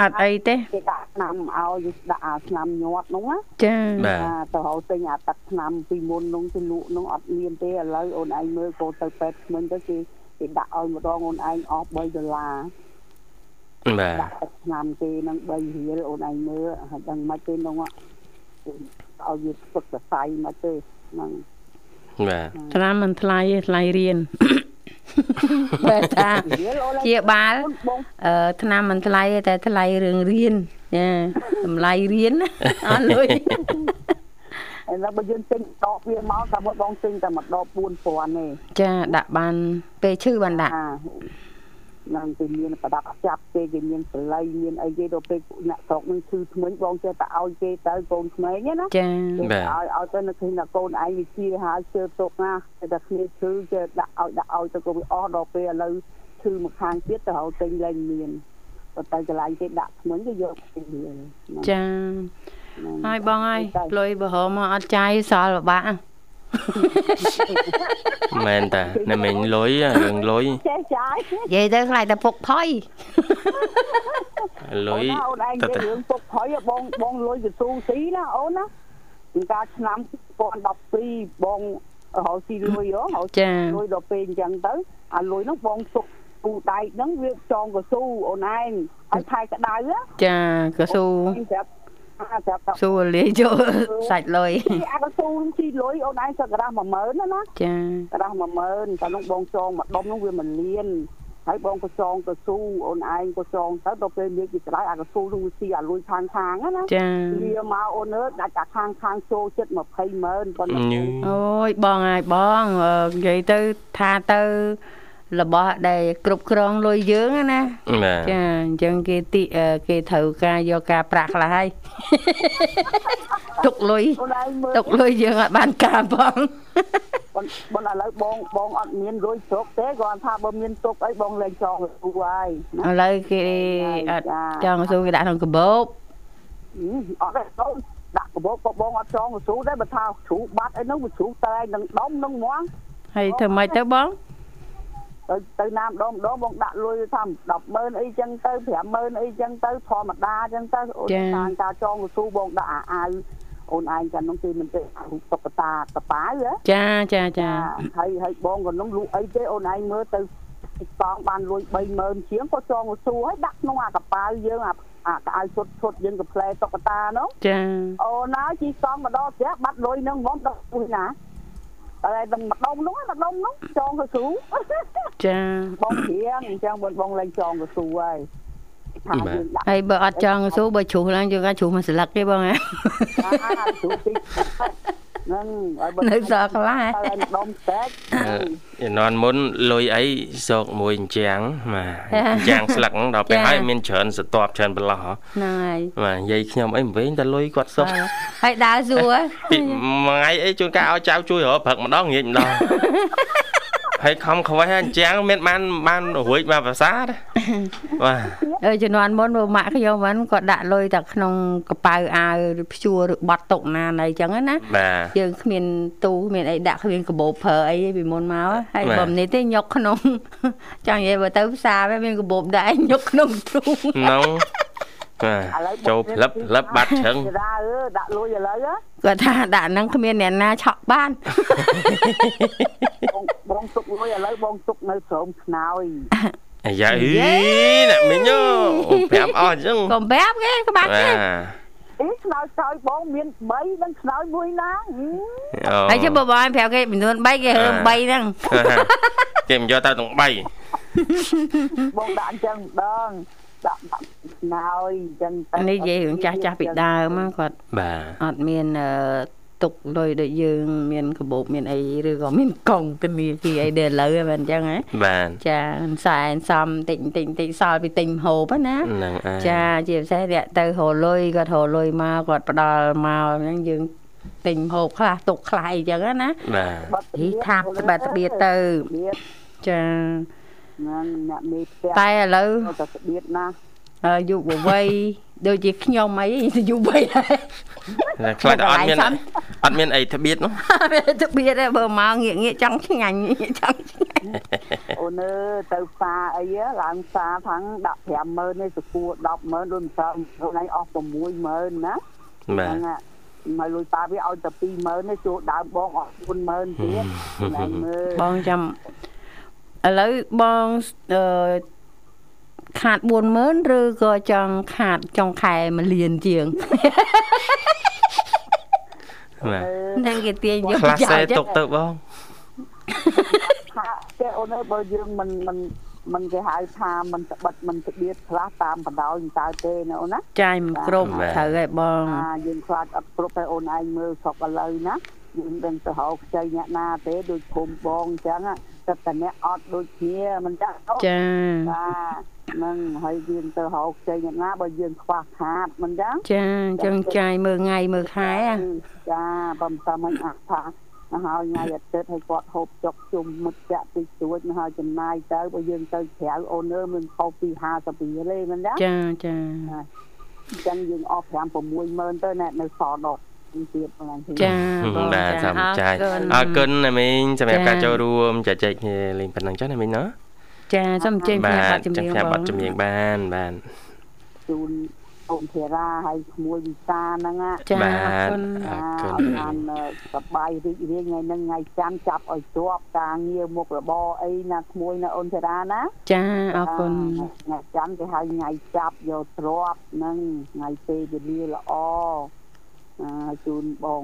Speaker 3: អត់អីទេ
Speaker 5: គេដាក់ឆ្នាំឲ្យដាក់អាឆ្នាំញាត់ហ្នឹងណា
Speaker 3: ចា
Speaker 2: បាទ
Speaker 5: អាទៅហៅទិញអាទឹកឆ្នាំពីមុននោះទៅលក់នោះអត់មានទេឥឡូវអូនឯងមើលកូនទៅពេទ្យមិញទៅគេគេដាក់ឲ្យម្ដងអូនឯងអស់3ដុល្លារ
Speaker 2: បាទ
Speaker 5: ដាក់ទឹកឆ្នាំគេនឹង3រៀលអូនឯងមើលហើយដឹងមិនទេនោះអ่ะឲ្យវាស្ពឹកសរសៃមកទេហ្នឹង
Speaker 2: បាទ
Speaker 3: ថ្នាំមិនថ្លៃទេថ្លៃរៀន [laughs] បើថា
Speaker 5: រៀលអូនឯង
Speaker 3: ជាបាល
Speaker 5: បង
Speaker 3: អឺថ្នាំមិនថ្លៃទេតែថ្លៃរឿងរៀនចាតម្លៃរៀន [laughs] ណាអត់លុយ
Speaker 5: ឥឡូវបើយើងទិញដបវាមកតែមកបងទិញតែមួយដប4000ទេ
Speaker 3: ចាដាក់បានពេលឈឺបានដាក់
Speaker 5: អានឹងគេមានប្រដាប់ចាប់គេគេមានប្រឡៃមានអីគេដល់ពេលអ្នកស្រុកនឹងឈឺធ្មេញបងចេះតែឲ្យគេទៅកូនក្មេងហ្នឹងណា
Speaker 3: ចា
Speaker 5: ឲ្យឲ្យទៅនៅឃើញតែកូនឯងវាជាហើយជើទុកណាតែតែគ្នាឈឺគេដាក់ឲ្យដាក់ឲ្យទៅក៏វាអស់ដល់ពេលឥឡូវឈឺមួយខាងទៀតទៅហៅទិញលែងមានបើទៅកន្លែងគេដាក់ធ្មេញគេយកពីវា
Speaker 3: ចាហើយបងហើយលុយបរហមមកអត់ចាយសល់ពិបាកអ่ะ
Speaker 2: មែនតាណាមីងលុយអារឿងលុយ
Speaker 5: ចេះចាយ
Speaker 3: និយាយទៅខ្លាចតែពុកផុយ
Speaker 2: លុយ
Speaker 5: អូនឯង
Speaker 2: ទៅ
Speaker 5: និយាយ
Speaker 2: ទៅ
Speaker 5: រឿងពុកផុយបងបងលុយទៅស៊ូស៊ីណាអូនណាកាលឆ្នាំ2012បងហៅស៊ីលុយហ៎ហៅ
Speaker 3: ចា
Speaker 5: លុយដល់ពេលអញ្ចឹងទៅអាលុយហ្នឹងបងទុកពូដែកហ្នឹងវាចងកស៊ូអូនឯងហើយថៃក្តៅណា
Speaker 3: ចាកស៊ូ
Speaker 5: អូនឯងប្រាប់អាប្រាប់ថា
Speaker 3: ស៊ូលាយចូលសាច់លុយ
Speaker 5: ពីអាកស៊ូហ្នឹងជីលុយអូនឯងសឹកក្រាស់10000ណាណា
Speaker 3: ចា
Speaker 5: ក្រាស់10000តែហ្នឹងបងចងមួយដុំហ្នឹងវាមិនលៀនហើយបងក៏ចងកស៊ូអូនឯងក៏ចងទៅដល់ពេលនិយាយពីក្តៅអាកស៊ូហ្នឹងវាស៊ីអាលុយខាងខាងៗណាណា
Speaker 3: ចា
Speaker 5: វាមកអូនអើយដាច់អាខាងខាងៗចូលចិត្ត200,000ប៉ុណ្ណឹង
Speaker 2: ញឺ
Speaker 3: អូយបងហើយបងអឺនិយាយទៅថាទៅរបស់ដែលគ្រប់គ្រងលុយយើងហ្នឹងណា
Speaker 2: បាទ
Speaker 3: ចាអញ្ចឹងគេទីអឺគេត្រូវការយកការប្រាក់ខ្លះហើយ [laughs] ទុកលុយ
Speaker 5: អូនឯងមើល
Speaker 3: ទុកលុយយើងអត់បានការផង
Speaker 5: បងបងឥឡូវបងបងអត់មានរួយជោគទេគ្រាន់ថាបើមានទុកអីបងលែងចងលូហើយណា
Speaker 3: ឥឡូវគេអត់ចង់ស៊ូគេដាក់ក្នុងកាបូប
Speaker 5: ហ៊ឹមអត់ទេបងដាក់កបោកក៏បងអត់ចងលូដែរបើថាជ្រូកបាត់អីហ្នឹងវាជ្រូកតែឯងនឹងដុំនឹងហ្មង
Speaker 3: ហើយធ្វើម៉េចទៅបង
Speaker 5: ទៅទៅណាម្ដងម្ដងបងដាក់លុយថា100,000អីចឹងទៅ50000អីចឹងទៅធម្មតាចឹងទៅអូនតាមការចងលូបងដាក់អាអាវអូនឯងចានោះគេមិនទេអារូបតុក្កតាកប៉ាវហ៎
Speaker 3: ចាចាចា
Speaker 5: ហើយហើយបងក៏នឹងលក់អីទេអូនឯងមើលទៅទីកងបានលួយ30000ជាងក៏ចងទៅសួរហើយដាក់ក្នុងអាកប៉ាល់យើងអាអាកៅឈុតឈុតយើងក៏ផ្លែតុក្កតានោះ
Speaker 3: ចា
Speaker 5: អូនហើយជីកងម្ដងផ្ទះបាត់លុយនឹងហ្មងដល់ពុះណាតែដល់ម្ដងនោះម្ដងនោះចងទៅសួរ
Speaker 3: ចា
Speaker 5: [laughs] បងព្រៀងអញ្ចឹងបងបងឡើងចងទៅសួរហើយថា
Speaker 2: បាទ
Speaker 5: យើងដាក់
Speaker 3: ហើយបើអត់ចង់ស៊ូបើជ្រុះឡើងយើងអាចជ្រុះមួយស្លឹកទេបងហ៎
Speaker 5: អាទៅទីហ្នឹងហើយបើ
Speaker 3: នៅសល់កន្លែង
Speaker 5: តែម្ដងតែក
Speaker 2: ឯណនមុនលុយអីសោកមួយអញ្ចាំងបាទអញ្ចាំងស្លឹកហ្នឹងដល់ពេល
Speaker 3: ចា
Speaker 2: ហើយមានច្រើនសន្ទាប់ច្រើនបន្លោះហ៎
Speaker 3: ហ្នឹងហើយ
Speaker 2: បាទនិយាយខ្ញុំអីមិនវិញតែលុយគាត់សោក
Speaker 3: ហើយដើរស៊ូ
Speaker 2: ពីមួយថ្ងៃអីជួនកាលឲ្យចៅជួយរកព្រឹកម្ដងងាចម្ដងហើយខំខ្វេះអញ្ចាំងមានបានបានរួចមកភាសាទេបាទ
Speaker 3: អើជំនាន់មុនមកម៉ាក់ខ្ញុំហ្នឹងគាត់ដាក់លុយតែក្នុងកប៉ៅអាវឬព្យួរឬបត់តុកណាណីអញ្ចឹងណា
Speaker 2: បាទ
Speaker 3: យើងគ្មានទូមានអីដាក់គ្មានកាបូបប្រើអីទេពីមុនមកហើយ
Speaker 2: បាទ
Speaker 3: បំនេះទេញុក [laughs] ក្នុងចង់និយាយបើទៅផ្សារវិញមានកាបូបដែរញុកក្នុងទូ
Speaker 2: នងបាទចូលផ្លឹបផ្លឹបបាត់ឈឹង [laughs]
Speaker 5: តារាអើដាក់លុយឥឡូវហ៎
Speaker 3: គាត់ថាដាក់ហ្នឹងគ្មានអ្នកណាឆក់
Speaker 2: [laughs]
Speaker 3: បាន
Speaker 5: បងបងទុកលុយឥឡូ
Speaker 3: [laughs]
Speaker 5: វបងទុកនៅក្រុមខ្នើយ
Speaker 2: អាយ៉ាអីអ្នកមីងអូប្រាប់អស់អញ្ចឹង
Speaker 3: កុំប្រាប់គេក្បាច់
Speaker 2: បា
Speaker 3: គេ
Speaker 2: ទ
Speaker 5: អីខ្នើយក្រោយបងមាន3និងខ្នើយមួយណាហឹម
Speaker 2: អូ
Speaker 3: ហើយជិះបើ
Speaker 2: [laughs]
Speaker 3: បងឲ្យប្រាប់គេចំនួន3គេរើ3ហ្នឹង
Speaker 2: គេមិនយកទៅទាំង
Speaker 5: បងដាក់អញ្ចឹងម្ដងដាក់ដាក់ខ្នើយអញ្ចឹង
Speaker 3: អានេះនិយាយរឿងចាស់ចាស់ៗពីដើមហ្នឹងគាត់
Speaker 2: 3បាទ
Speaker 3: អត់មានអឺទុកលុយដូចយើងមានកាបូបមានអីឬក៏មានកង់ធនាគារអីដែលឥឡូវហ្នឹងអញ្ចឹងហ៎
Speaker 2: បាទ
Speaker 3: ចាសែនសំតិចតិចតិចសល់ពីទិញម្ហូបហ្នឹងណា
Speaker 2: ហ្នឹងអា
Speaker 3: ចាជាពិសេសរយៈទៅរលុយគាត់រលុយមកគាត់ផ្ដល់មកអញ្ចឹងយើងទិញម្ហូបខ្លះទុកខ្លះអីអញ្ចឹងណា
Speaker 2: បាទ
Speaker 3: ហីថាបត្បាត្បៀតទៅ
Speaker 5: ស្បៀត
Speaker 3: ចា
Speaker 5: ហ្នឹងអ្នកមេផ្ទះ
Speaker 3: តែឥឡូវ
Speaker 5: គាត់ទៅស្បៀតណា
Speaker 3: អឺយុវវ័យដូចជាខ្ញុំអីយុវវ័យដែរ [laughs]
Speaker 2: តែខ្លាចអត់មាន
Speaker 3: កន្លែងសំ
Speaker 2: អត់មានអីធៀបទៀតនោះ
Speaker 3: វាទៅបៀតឯងបើមកងាកងាកចង់ឆ្ងាញ់ងាកចង់ឆ្ងាញ់
Speaker 5: អូនអើយទៅផ្សារអីហ៎ឡើងផ្សារថាំងដាក់50000ឯងសគួរ100000ដូចមិនសល់ខ្លួនឯងអស់60000ណា
Speaker 2: បាទ
Speaker 5: ណាមកលុយប៉ាវាឲ្យតែ20000ឯងចូលដើមបងអស់40000ទៀត
Speaker 2: ហឹម
Speaker 5: ណាមើល
Speaker 3: បងចាំឥឡូវបងអឺខាត40000ឬក៏ចង់ខាតចុងខែ1លានជាង
Speaker 2: បាទ
Speaker 3: ហ្នឹងគេទាញយក
Speaker 2: ខ្លះសេ
Speaker 3: ចឹ
Speaker 2: ទុ
Speaker 3: ង
Speaker 2: កទៅបង
Speaker 5: ថាតែអូនអើយបើយើងមិនមិនមិនគេហៅថាមិនត្បិតមិនស្បៀតខ្លះតាមបណ្ដោយមិនតើទេណាអូនណា
Speaker 3: ចាយមិនគ្រប់ត្រូវហើយបង
Speaker 5: អាយើងខ្លាចអត់គ្រប់តែអូនឯងមើលស្រុកឥឡូវណាយើងដឹងទៅហៅខ្ចីអ្នកណាទេដូចភូមិបងអញ្ចឹងណាតែតែអ្នកអត់ដូចគ្នាមិនចាស់អូ
Speaker 3: ចា
Speaker 5: បាទនឹងហើយយើងទៅហៅខ្ចីអ្នកណាបើយើងខ្វះខាតមិនចឹង
Speaker 3: ចាអញ្ចឹងចាយមើលថ្ងៃមើលខែអ่ะ
Speaker 5: ចាបំតាមិនអត់ថាហើយថ្ងៃអាទិត្យឲ្យគាត់ហូបចុកជុំមុតចាក់តិចតួចមកហើយចំណាយទៅបើយើងទៅក្រៅអូនអើយមិនខុសពី50រៀលទេមិនចឹង
Speaker 3: ចាចា
Speaker 5: អញ្ចឹងយើងអស់5 60000ទៅណែនៅសល់ដល់ទៀតហ្នឹងគឺ
Speaker 3: ចាបង
Speaker 2: បាទ
Speaker 3: ចា
Speaker 2: សូមចាយ
Speaker 3: អរ
Speaker 2: អ
Speaker 3: គុ
Speaker 2: រ
Speaker 3: ណ
Speaker 2: គុណណាមីងសម្រាប់
Speaker 3: ចា៎
Speaker 2: ការចូលរួមចែកចែកគ្នាលេងប៉ុណ្ណឹងចុះណាមីងណា
Speaker 3: ចាសូមអញ្ជើញផ្សាយប័ណ្ណ
Speaker 2: ចាំ
Speaker 3: ចម្រៀង
Speaker 2: ផ្សាយ
Speaker 3: បង
Speaker 2: ប័ណ្ណចម្រៀងបានបាទ
Speaker 5: ជូនអូនធារាហើយក្មួយវិសាហ្នឹងណា
Speaker 3: ចាអ
Speaker 2: បាទ
Speaker 3: រគុណ
Speaker 2: អរគុណ
Speaker 5: ឲ្យបានសប្បាយរីករាយថ្ងៃហ្នឹងថ្ងៃច័ន្ទចាប់ឲ្យជាប់ការងារមុខរបរអីណាក្មួយណាអូនធារាណា
Speaker 3: ចាអរគុណ
Speaker 5: ថ្ងៃច័ន្ទគេហៅថ្ងៃចាប់យកទ្រពហ្នឹងថ្ងៃពេលវេលាល្អអាជូនបង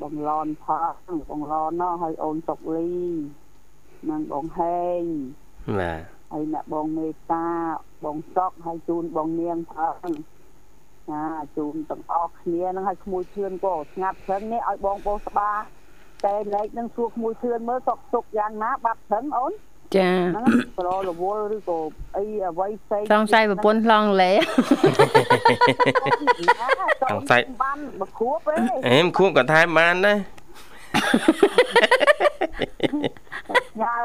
Speaker 5: បងឡនផងបងឡនណោះហើយអូនសុកលីនិងបងហេង
Speaker 2: បាទ
Speaker 5: ហើយអ្នកបងមេតាបងសក់ហើយជូនបងនាងផងណាជូនទាំងអស់គ្នាហ្នឹងឲ្យក្មួយឈឿនក៏ស្ងាត់ព្រឹងនេះឲ្យបងប្អូនស្បាតែលេខហ្នឹងសួរក្មួយឈឿនមើលសក់សុកយ៉ាងណាបាត់ព្រឹងអូន
Speaker 3: ចា
Speaker 5: [coughs] ហ្នឹងប្ររវល់ឬក៏អីអ្វីផ្សេង
Speaker 3: ស
Speaker 5: [coughs]
Speaker 3: ង្ស័យប្រពន្ធឡងលេ
Speaker 5: សង្ស័យបានមកគួបទេ
Speaker 2: អេមខួបក៏ថែមបានដែរ
Speaker 5: ញ៉ា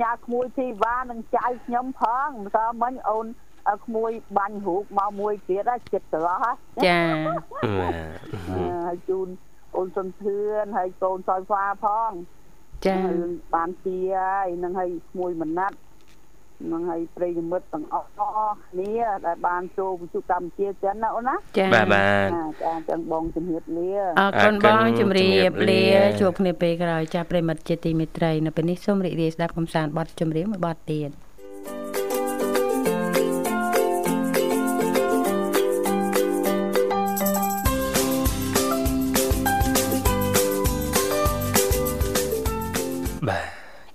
Speaker 5: ញ៉ាក្មួយធីវ៉ានឹងចៅខ្ញុំផងមិនស្អមិញអូនឲ្យក្មួយបាញ់រូបមកមួយទៀតហ្នឹងចិត្តស្រស់ហ្នឹង
Speaker 3: [laughs] ចា
Speaker 2: បាទ
Speaker 5: អឺហើយជូនអូនសុនធឿនហើយកូនសោយផ្លាផង
Speaker 3: ចា
Speaker 5: រឿងបានទីហើយនឹងហើយក្មួយមណាត់នឹងហើយប្រិយមិត្តទាំងអស់គ្នាដែលបានចូលវិទ្យុកម្ពុជាចិនណាអូនណា
Speaker 3: ចា
Speaker 2: បាទបាទ
Speaker 5: ណាចាអញ្ចឹងបងជំរាបលា
Speaker 3: អរគុណ
Speaker 2: អរគុ
Speaker 3: ប
Speaker 2: ណ
Speaker 3: ងជំរា
Speaker 2: ជំរា
Speaker 3: ប
Speaker 2: បលា
Speaker 3: លាជួបគ្នាពេលក្រោយចាស់ប្រិមិត្តជាទីមេត្រីនៅពេលនេះសូមរីករាយស្ដាប់កំសាន្តបទចម្រៀងមួយបទទៀត
Speaker 2: បាទ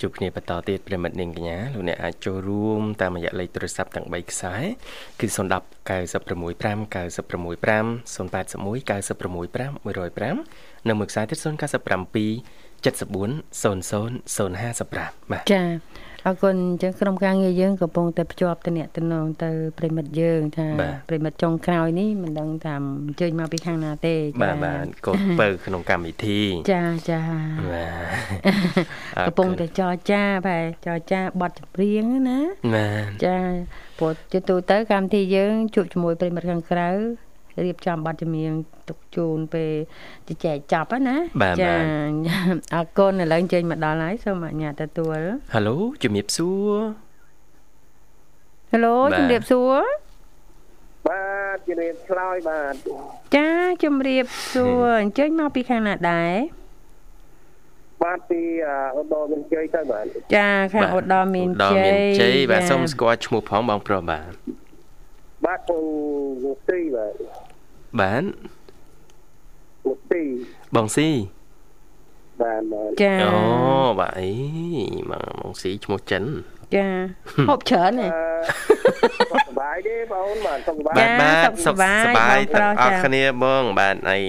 Speaker 2: ជួបគ្នាបន្តទៀតប្រិមិត្តនាងកញ្ញាលោកអ្នកអាចចូលរួមតាមរយៈលេខទូរស័ព្ទទាំង3ខ្សែគឺ010 965 965 081 965 105និងមួយខ្សែទៀត097 74 00055បាទ
Speaker 3: ចាអរគុណអញ្ចឹងក្រុមការងារយើងកំពុងតែភ្ជាប់តំណែងតំណងទៅប្រិមិត្តយើងថាប្រិមិត្តចុងក្រោយនេះមិនដឹងថាអញ្ជើញមកពីខាងណាទេ
Speaker 2: បាទបាទកូនពៅក្នុងកម្មវិធី
Speaker 3: ចាចា [laughs]
Speaker 2: បាទ
Speaker 3: កំពុងតែចរចាបែរចរចាបទចម្រៀងហ្នឹងណា
Speaker 2: បាទ
Speaker 3: ចាព្រោះជាទូទៅកម្មវិធីយើងជួបជាមួយប្រិមត្តខាងក្រៅរៀបចំប័ណ្ណចម្រៀងទុកជូនពេលជជែកចប់ហ្នឹងណា [laughs] អរគុណឥឡូវអញ្ជើញមកដល់ហើយសូមអញ្ញាតទទួល
Speaker 2: ហៅឡូជំរាបសួរ
Speaker 3: ហេឡូជំរាបសួរ
Speaker 6: បាទជំរាបឆ្លើយបាទ
Speaker 3: ចាជំរាបសួរអញ្ជើញមកពីខាងណាដែរ
Speaker 6: បាទពីអឺឧត្តរមានជ័យទៅបាទ
Speaker 3: ចាខាងឧត្តរមាន
Speaker 2: ឧត្ត
Speaker 3: ជ័យ
Speaker 2: មានជ័យបាទសូមស្គាល់ឈ្មោះផងបងប្រុសបាទ
Speaker 6: បាទបងលោកទីបាទ
Speaker 2: បាទ
Speaker 6: លោកទី
Speaker 2: បងស៊ី
Speaker 6: បាទបាទ
Speaker 3: ចា
Speaker 2: អូបាទអីបងបងស៊ីឈ្មោះចិន
Speaker 3: ចាហូបច្រើនហ៎
Speaker 6: អឺសុខសប្បាយទេបងអូនបាទសុខសប្បាយ
Speaker 2: បា
Speaker 6: បា
Speaker 2: បា
Speaker 6: ទ ទ
Speaker 2: ទ
Speaker 3: សុ
Speaker 2: សុខ
Speaker 3: ខ
Speaker 2: ស
Speaker 3: សប្
Speaker 2: ប្បា
Speaker 3: បាយយ
Speaker 2: ទាំងអ
Speaker 3: បង
Speaker 2: ស់
Speaker 3: ប្រុសចា៎
Speaker 2: គ្នាបងបាទអី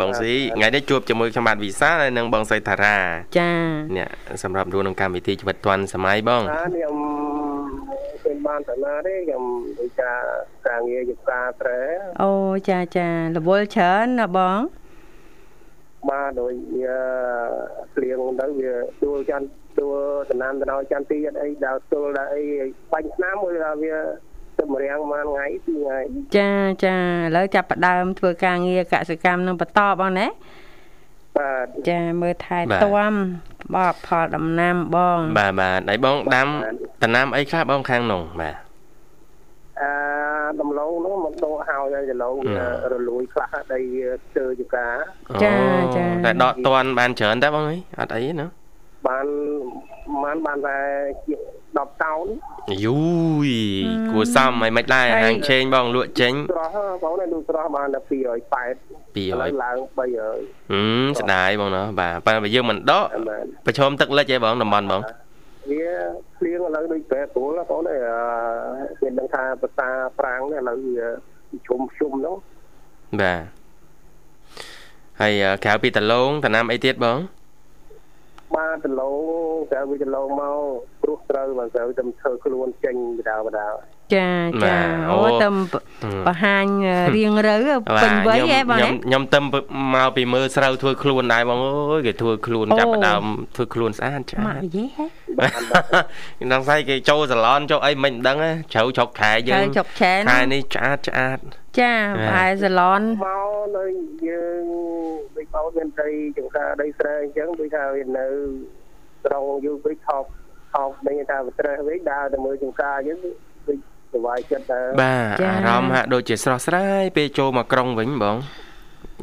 Speaker 2: បងស៊ីថ្ងៃនេះជួបជាមួយខ្ញុំបាទវិសាលហើយនិងបងសីតារា
Speaker 3: ចា
Speaker 2: អ្នកសម្រាប់រួមក្នុងកម្មវិធីជីវិតឌွန်សម័យបង
Speaker 6: បាទខ្ញុំពេលបានតាណាទេខ្ញុំធ្វើការការងារជាការត្រែ
Speaker 3: អូចាចារវល់ច្រើនណាបង
Speaker 6: បាទដោយវាគ្លៀងទៅវាទួលច័ន្ទទួលតំណាំតំណោច័ន្ទទីអត់អីដល់ទួលដល់អីបញ្ហាមួយដល់វាទៅម្រាំងមួយថ្ងៃពីរថ្ងៃ
Speaker 3: ចាចាឥឡូវចាប់ផ្ដើមធ្វើការងារកសិកម្មនឹងបន្តបងណា
Speaker 6: បាទ
Speaker 3: ចាមើលថែ
Speaker 2: បាទ
Speaker 3: ទាំបបផលដំណាំបង
Speaker 2: បាទបាទហើយបងដាំដំណាំអីខ្លះបងខាងនោះបាទ
Speaker 6: អឺដំឡូងនោះមិនដកឲ្យហើយដំឡូងវា
Speaker 2: អឺ
Speaker 6: រលួយខ្លះដីស្ទើរយូកា
Speaker 3: ចាចា
Speaker 2: តែដកតន់បានច្រើនតែបងអីអត់អីទេណា
Speaker 6: បានបានបានតែជាង10តោន
Speaker 2: យូយគួរសមហើយមិនដែរហាងឆេងបងលក់ចេញ
Speaker 6: ស្រស់ហ៎បងណាលោកស្រស់បានតែ
Speaker 2: 200ហ
Speaker 6: 280ឥឡូវឡើង300
Speaker 2: ឹមស្ដាយបងណាបាទបើបើយើងមិនដក
Speaker 6: បាន
Speaker 2: ប្រឈមទឹកលិចឯងបងតំបន់បង
Speaker 6: វាភ្លៀងឥឡូវដូចប្រែប្រួលហ៎បងណាអឺគេដឹងថាភាសាប្រាំងនេះឥឡូវវាជុំជុំហ្នឹង
Speaker 2: បាទហើយអឺក្រៅពីតឡងតំណាំអីទៀតបង
Speaker 6: បានដំឡូងតែវាដំឡូងមកព្រោះត្រូវបើត្រូវតែធ្វើខ្លួនចេញបដាបដា
Speaker 3: ចា
Speaker 2: បា
Speaker 3: ចា
Speaker 2: ទអូ
Speaker 3: អូតែបហាញរៀងរូវពេញវ័យហ៎បង
Speaker 2: ខ្ញុំខ្ញុំទៅមកពីមើលស្រូវធ្វើខ្លួនដែរបងអើយគេធ្វើខ្លួនចាប់ផ្ដើមធ្វើខ្លួនស្អាតឆ្អា
Speaker 3: ម៉ាក់
Speaker 2: [laughs] ត
Speaker 3: យីហ៎
Speaker 2: ដល់ស្អីគេចូលសាឡនចូលអីមិនដឹងហ៎ជ្រៅចុកខែយើ
Speaker 3: ត្រូវ
Speaker 2: ង
Speaker 3: ចុកឆែន
Speaker 2: ខែនេះឆ្អាតឆ្អាត
Speaker 3: ចាប្រហែលសាឡន
Speaker 6: មកនៅយើងដូចបងមានដីចង្ការដីស្រែអញ្ចឹងដូចថាវានៅត្រង់យូរពេកថប់ថប់ដូចថាវាត្រេះពេកដើរទៅមើលចង្ការអញ្ចឹងដូចសុវ័យចិត្តទៅ
Speaker 2: បាទអារម្មណ៍ហាក់ដូចជាស្រស់ស្រាយពេលចូលមកក្រុងវិញបង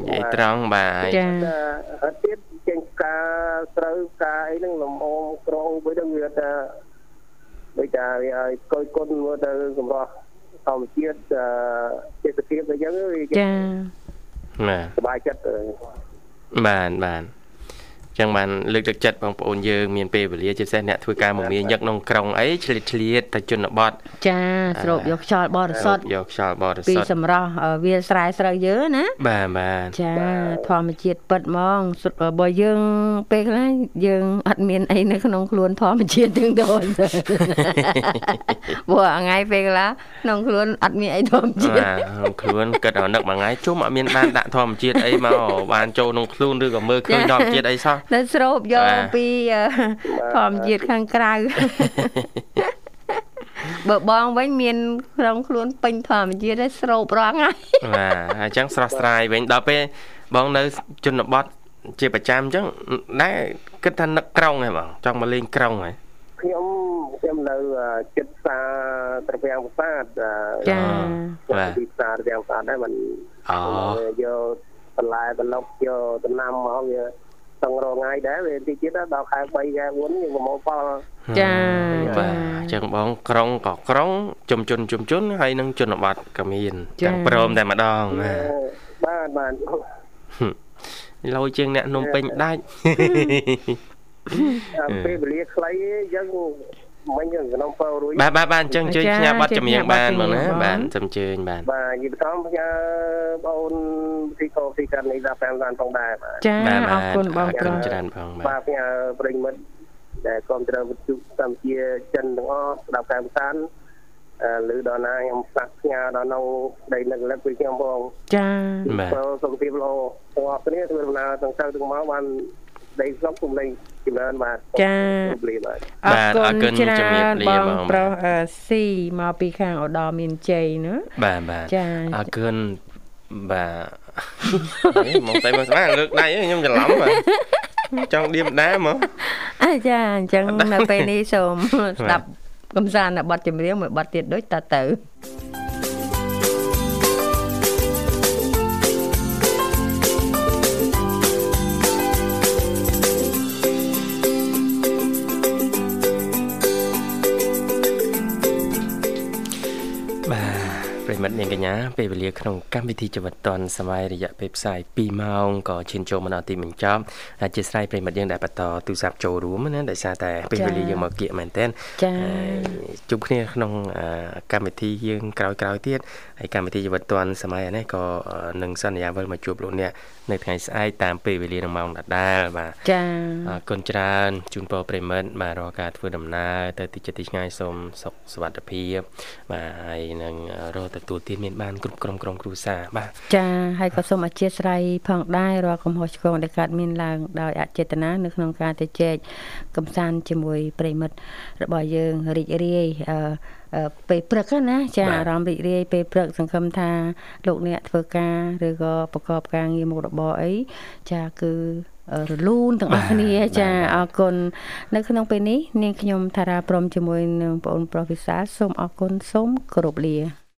Speaker 2: និយាយត្រង់បាទ
Speaker 3: ចា
Speaker 6: តែហត់ទៀតចេញផ្ការត្រូវផ្ការអីហ្នឹងលំអងក្រងវិញហ្នឹងវាថាដូចថាវាឲ្យកុយគុណមើលទៅសម្រាប់ធម្មជាតិអឺទេសភាពអីចឹងវា
Speaker 2: បា
Speaker 3: ចា
Speaker 2: ទ
Speaker 6: សុវ័យចិត្តទៅ
Speaker 2: បាទបាទអញ្ចឹងបានលើកទឹកចិត្តបងប្អូនយើងមានពេលវេលាជាពិសេសអ្នកធ្វើការមមាញឹកក្នុងក្រុងអីឆ្លៀតឆ្លៀតទៅជនបទ
Speaker 3: ចាស្រូបយកខ្យល់បរិសុទ្ធ
Speaker 2: យកខ្យល់បរិ
Speaker 3: ពី
Speaker 2: សុទ្ធ
Speaker 3: សម្រស់អឺវាលស្រែស្រូវយើងណា
Speaker 2: បាទបាទ
Speaker 3: ចាធម្មជាតិពិតហ្មងសុទ្ធបើយើងពេលខ្លះយើងអត់មានអីនៅក្នុងខ្លួនធម្មជាតិទាំង
Speaker 2: [laughs]
Speaker 3: ដូចព្រោះថ្ងៃពេលខ្លះក្នុងខ្លួនអត់មានអីធម្មជាតិ
Speaker 2: បាទក្នុងខ្លួនគិតដល់នឹកមួយថ្ងៃជុំអត់មានបានដាក់ធម្មជាតិអីមក [laughs] បានចូលក្នុងខ្លួនឬក៏មើលឃើញធម្មជាតិអីសោះ
Speaker 3: តែស្រោបយក
Speaker 2: បាទ
Speaker 3: ពីអឺ [laughs] ធម្មជាតិខាងក្រៅ
Speaker 2: [laughs]
Speaker 3: បើបងវិញមានក្នុងខ្លួនពេញធម្មជាតិហើយស្រោបរង
Speaker 2: [laughs]
Speaker 3: ហើយ
Speaker 2: បាទហើយអញ្ចឹងស្រស់ស្រាយវិញដល់ពេលបងនៅជនបទជាប្រចាំអញ្ចឹងដែរគិតថានឹកក្រុងហ៎បងចង់មកលេងក្រុងហ៎
Speaker 6: ខ្ញុំខ្ញុំនៅអឺជិតផ្សារត្រពាំងប្រាសាទអឺ
Speaker 3: ចា
Speaker 2: បាទ
Speaker 6: ទីផ្សារត្រពាំងប្រាសាទដែរមិន
Speaker 2: អូ
Speaker 6: យកបន្លែបន្លុកយកដំណាំមកវាសឹងរងថ្ងៃដែរវាទីទៀតដល់ខែ3ខែ4យើងប្រមូលផល
Speaker 3: ចា
Speaker 2: បាទ
Speaker 3: ចា
Speaker 2: អញ្ចឹងបងក្រុងក៏ក្រុងជុំជនជុំជនហើយនឹងជនបទក៏មាន
Speaker 3: ចា៎
Speaker 2: ទាំងព្រមតែម្ដងបាទ
Speaker 6: បាទបាទ
Speaker 2: លោជាងអ្នកនំពេញដា
Speaker 3: [laughs]
Speaker 2: ច់
Speaker 6: អ่าពេលវេលាខ្លីយើងមិញយើងក្នុងពោរួយ
Speaker 2: បាទបាទបាទអញ្ចឹងជួយ
Speaker 3: ចា៎
Speaker 2: ផ្ញើប័ណ្ណ
Speaker 3: ជួយ
Speaker 2: ចម្រៀង
Speaker 3: ផ្ញើប័ណ្ណ
Speaker 2: បានបង
Speaker 3: ចម្រៀ
Speaker 2: ណា
Speaker 3: ង
Speaker 2: បាទសូមអញ្ជើញបាទ
Speaker 3: បង
Speaker 6: បាទនិយាយបន្តផ្ញើបងអូនទីកោទីកានីដល់តាមតាមផងដែរបាទ
Speaker 3: ចា
Speaker 2: បាទ
Speaker 3: អរគុណបង
Speaker 2: អរ
Speaker 3: ប្រុស
Speaker 2: គុណច្រើនផងបាទ
Speaker 6: បាទផ្ញើប្រិយមិត្តដែលគ្រប់គ្រងវិទ្យុកម្ពុជាចិនទាំងអស់ស្ដាប់ការផ្សាយឬដល់ណាខ្ញុំផ្សាក់ផ្ញើដល់នៅដីនឹកលឹកពីខ្ញុំផង
Speaker 3: ចា
Speaker 2: បាទ
Speaker 6: សូមសុខភាពល្អទាំងអស់គ្នាធ្វើដំណើរទាំងទៅទាំងមកបានដីសុខគុំលេងចម្រើនបាទ
Speaker 3: ចា៎
Speaker 6: ជម្រាបបាទ
Speaker 2: បាទអរគុណជំរាបលា
Speaker 3: ច្រើន
Speaker 2: បង
Speaker 3: បងប្រុសអឺស៊ីមកពីខាងឧត្តរមានជ័យណា
Speaker 2: បាទបាទ
Speaker 3: ចា៎
Speaker 2: អរគុណបាទ [laughs] ហេមកតែមកស្មានលើកដៃខ្ញុំច្រឡំបាទចង់ឌៀមដាមក
Speaker 3: អាចាអ [laughs] ញ្ចឹងនៅពេលនេះសូម ស្ដាប់កំសាន្តនៅបទចម្រៀងមួយបទទៀតដូចតទៅ
Speaker 2: បាទប្រិមត្តនាងកញ្ញាពេលវេលាក្នុងកម្មវិធីជីវិតឌွန်សម័យរយៈពេលផ្សាយ2ម៉ោងក៏ឈានចូលមកដល់ទីបញ្ចប់អធិស្ឋានប្រិមត្តយើងដែលបន្តទូរស័ព្ទចូលរួមណាដោយសារតែពេលវេលាយើងមកគៀកមែនទែន
Speaker 3: ចា
Speaker 2: ជួបគ្នាក្នុងអឺកម្មវិធីយើងក្រោយក្រោយៗទៀតហើយកម្មវិធីជីវិតឌွန်សម័យនេះក៏អឺនឹងសន្យាវិលមកជួបលោកអ្នកនៅថ្ងៃស្អែកតាមពេលវេលានឹងម៉ោងដដែលបាទ
Speaker 3: ចា
Speaker 2: អរគុណច្រើនជូនពរប្រិមិត្តបាទរាល់ការធ្វើដំណើរទៅទីចិត្តទីឆ្ងាយសូមសុខសុវត្ថិភាពបាទហើយនឹងអឺរកទទួលទានមានបានគ្រប់ក្រុមក្រុមគ្រួសារបាទ
Speaker 3: ចាហើយក៏សូមអធិស្ឋានផងដែររាល់កំហុសឆ្គងដែលកើតមានឡើងដោយអចេតនានៅក្នុងការទៅចែកកំសាន្តជាមួយប្រិមិត្តរបស់យើងរីករាយអឺអឺពេលព្រឹកហ្នឹងណាចា
Speaker 2: បាទ
Speaker 3: អារម្មណ៍រីករាយពេលព្រឹកសង្ឃឹមថាលោកអ្នកធ្វើការឬក៏ប្រកបការងារមុខរបរអីចាគឺ រលូនទាំងអស់គ្នាចាអរគុណនៅក្នុងពេលនេះនាងខ្ញុំថារាព្រមជាមួយនឹងបងប្រុសវិសាលសូមអរគុណសូមគោរពលា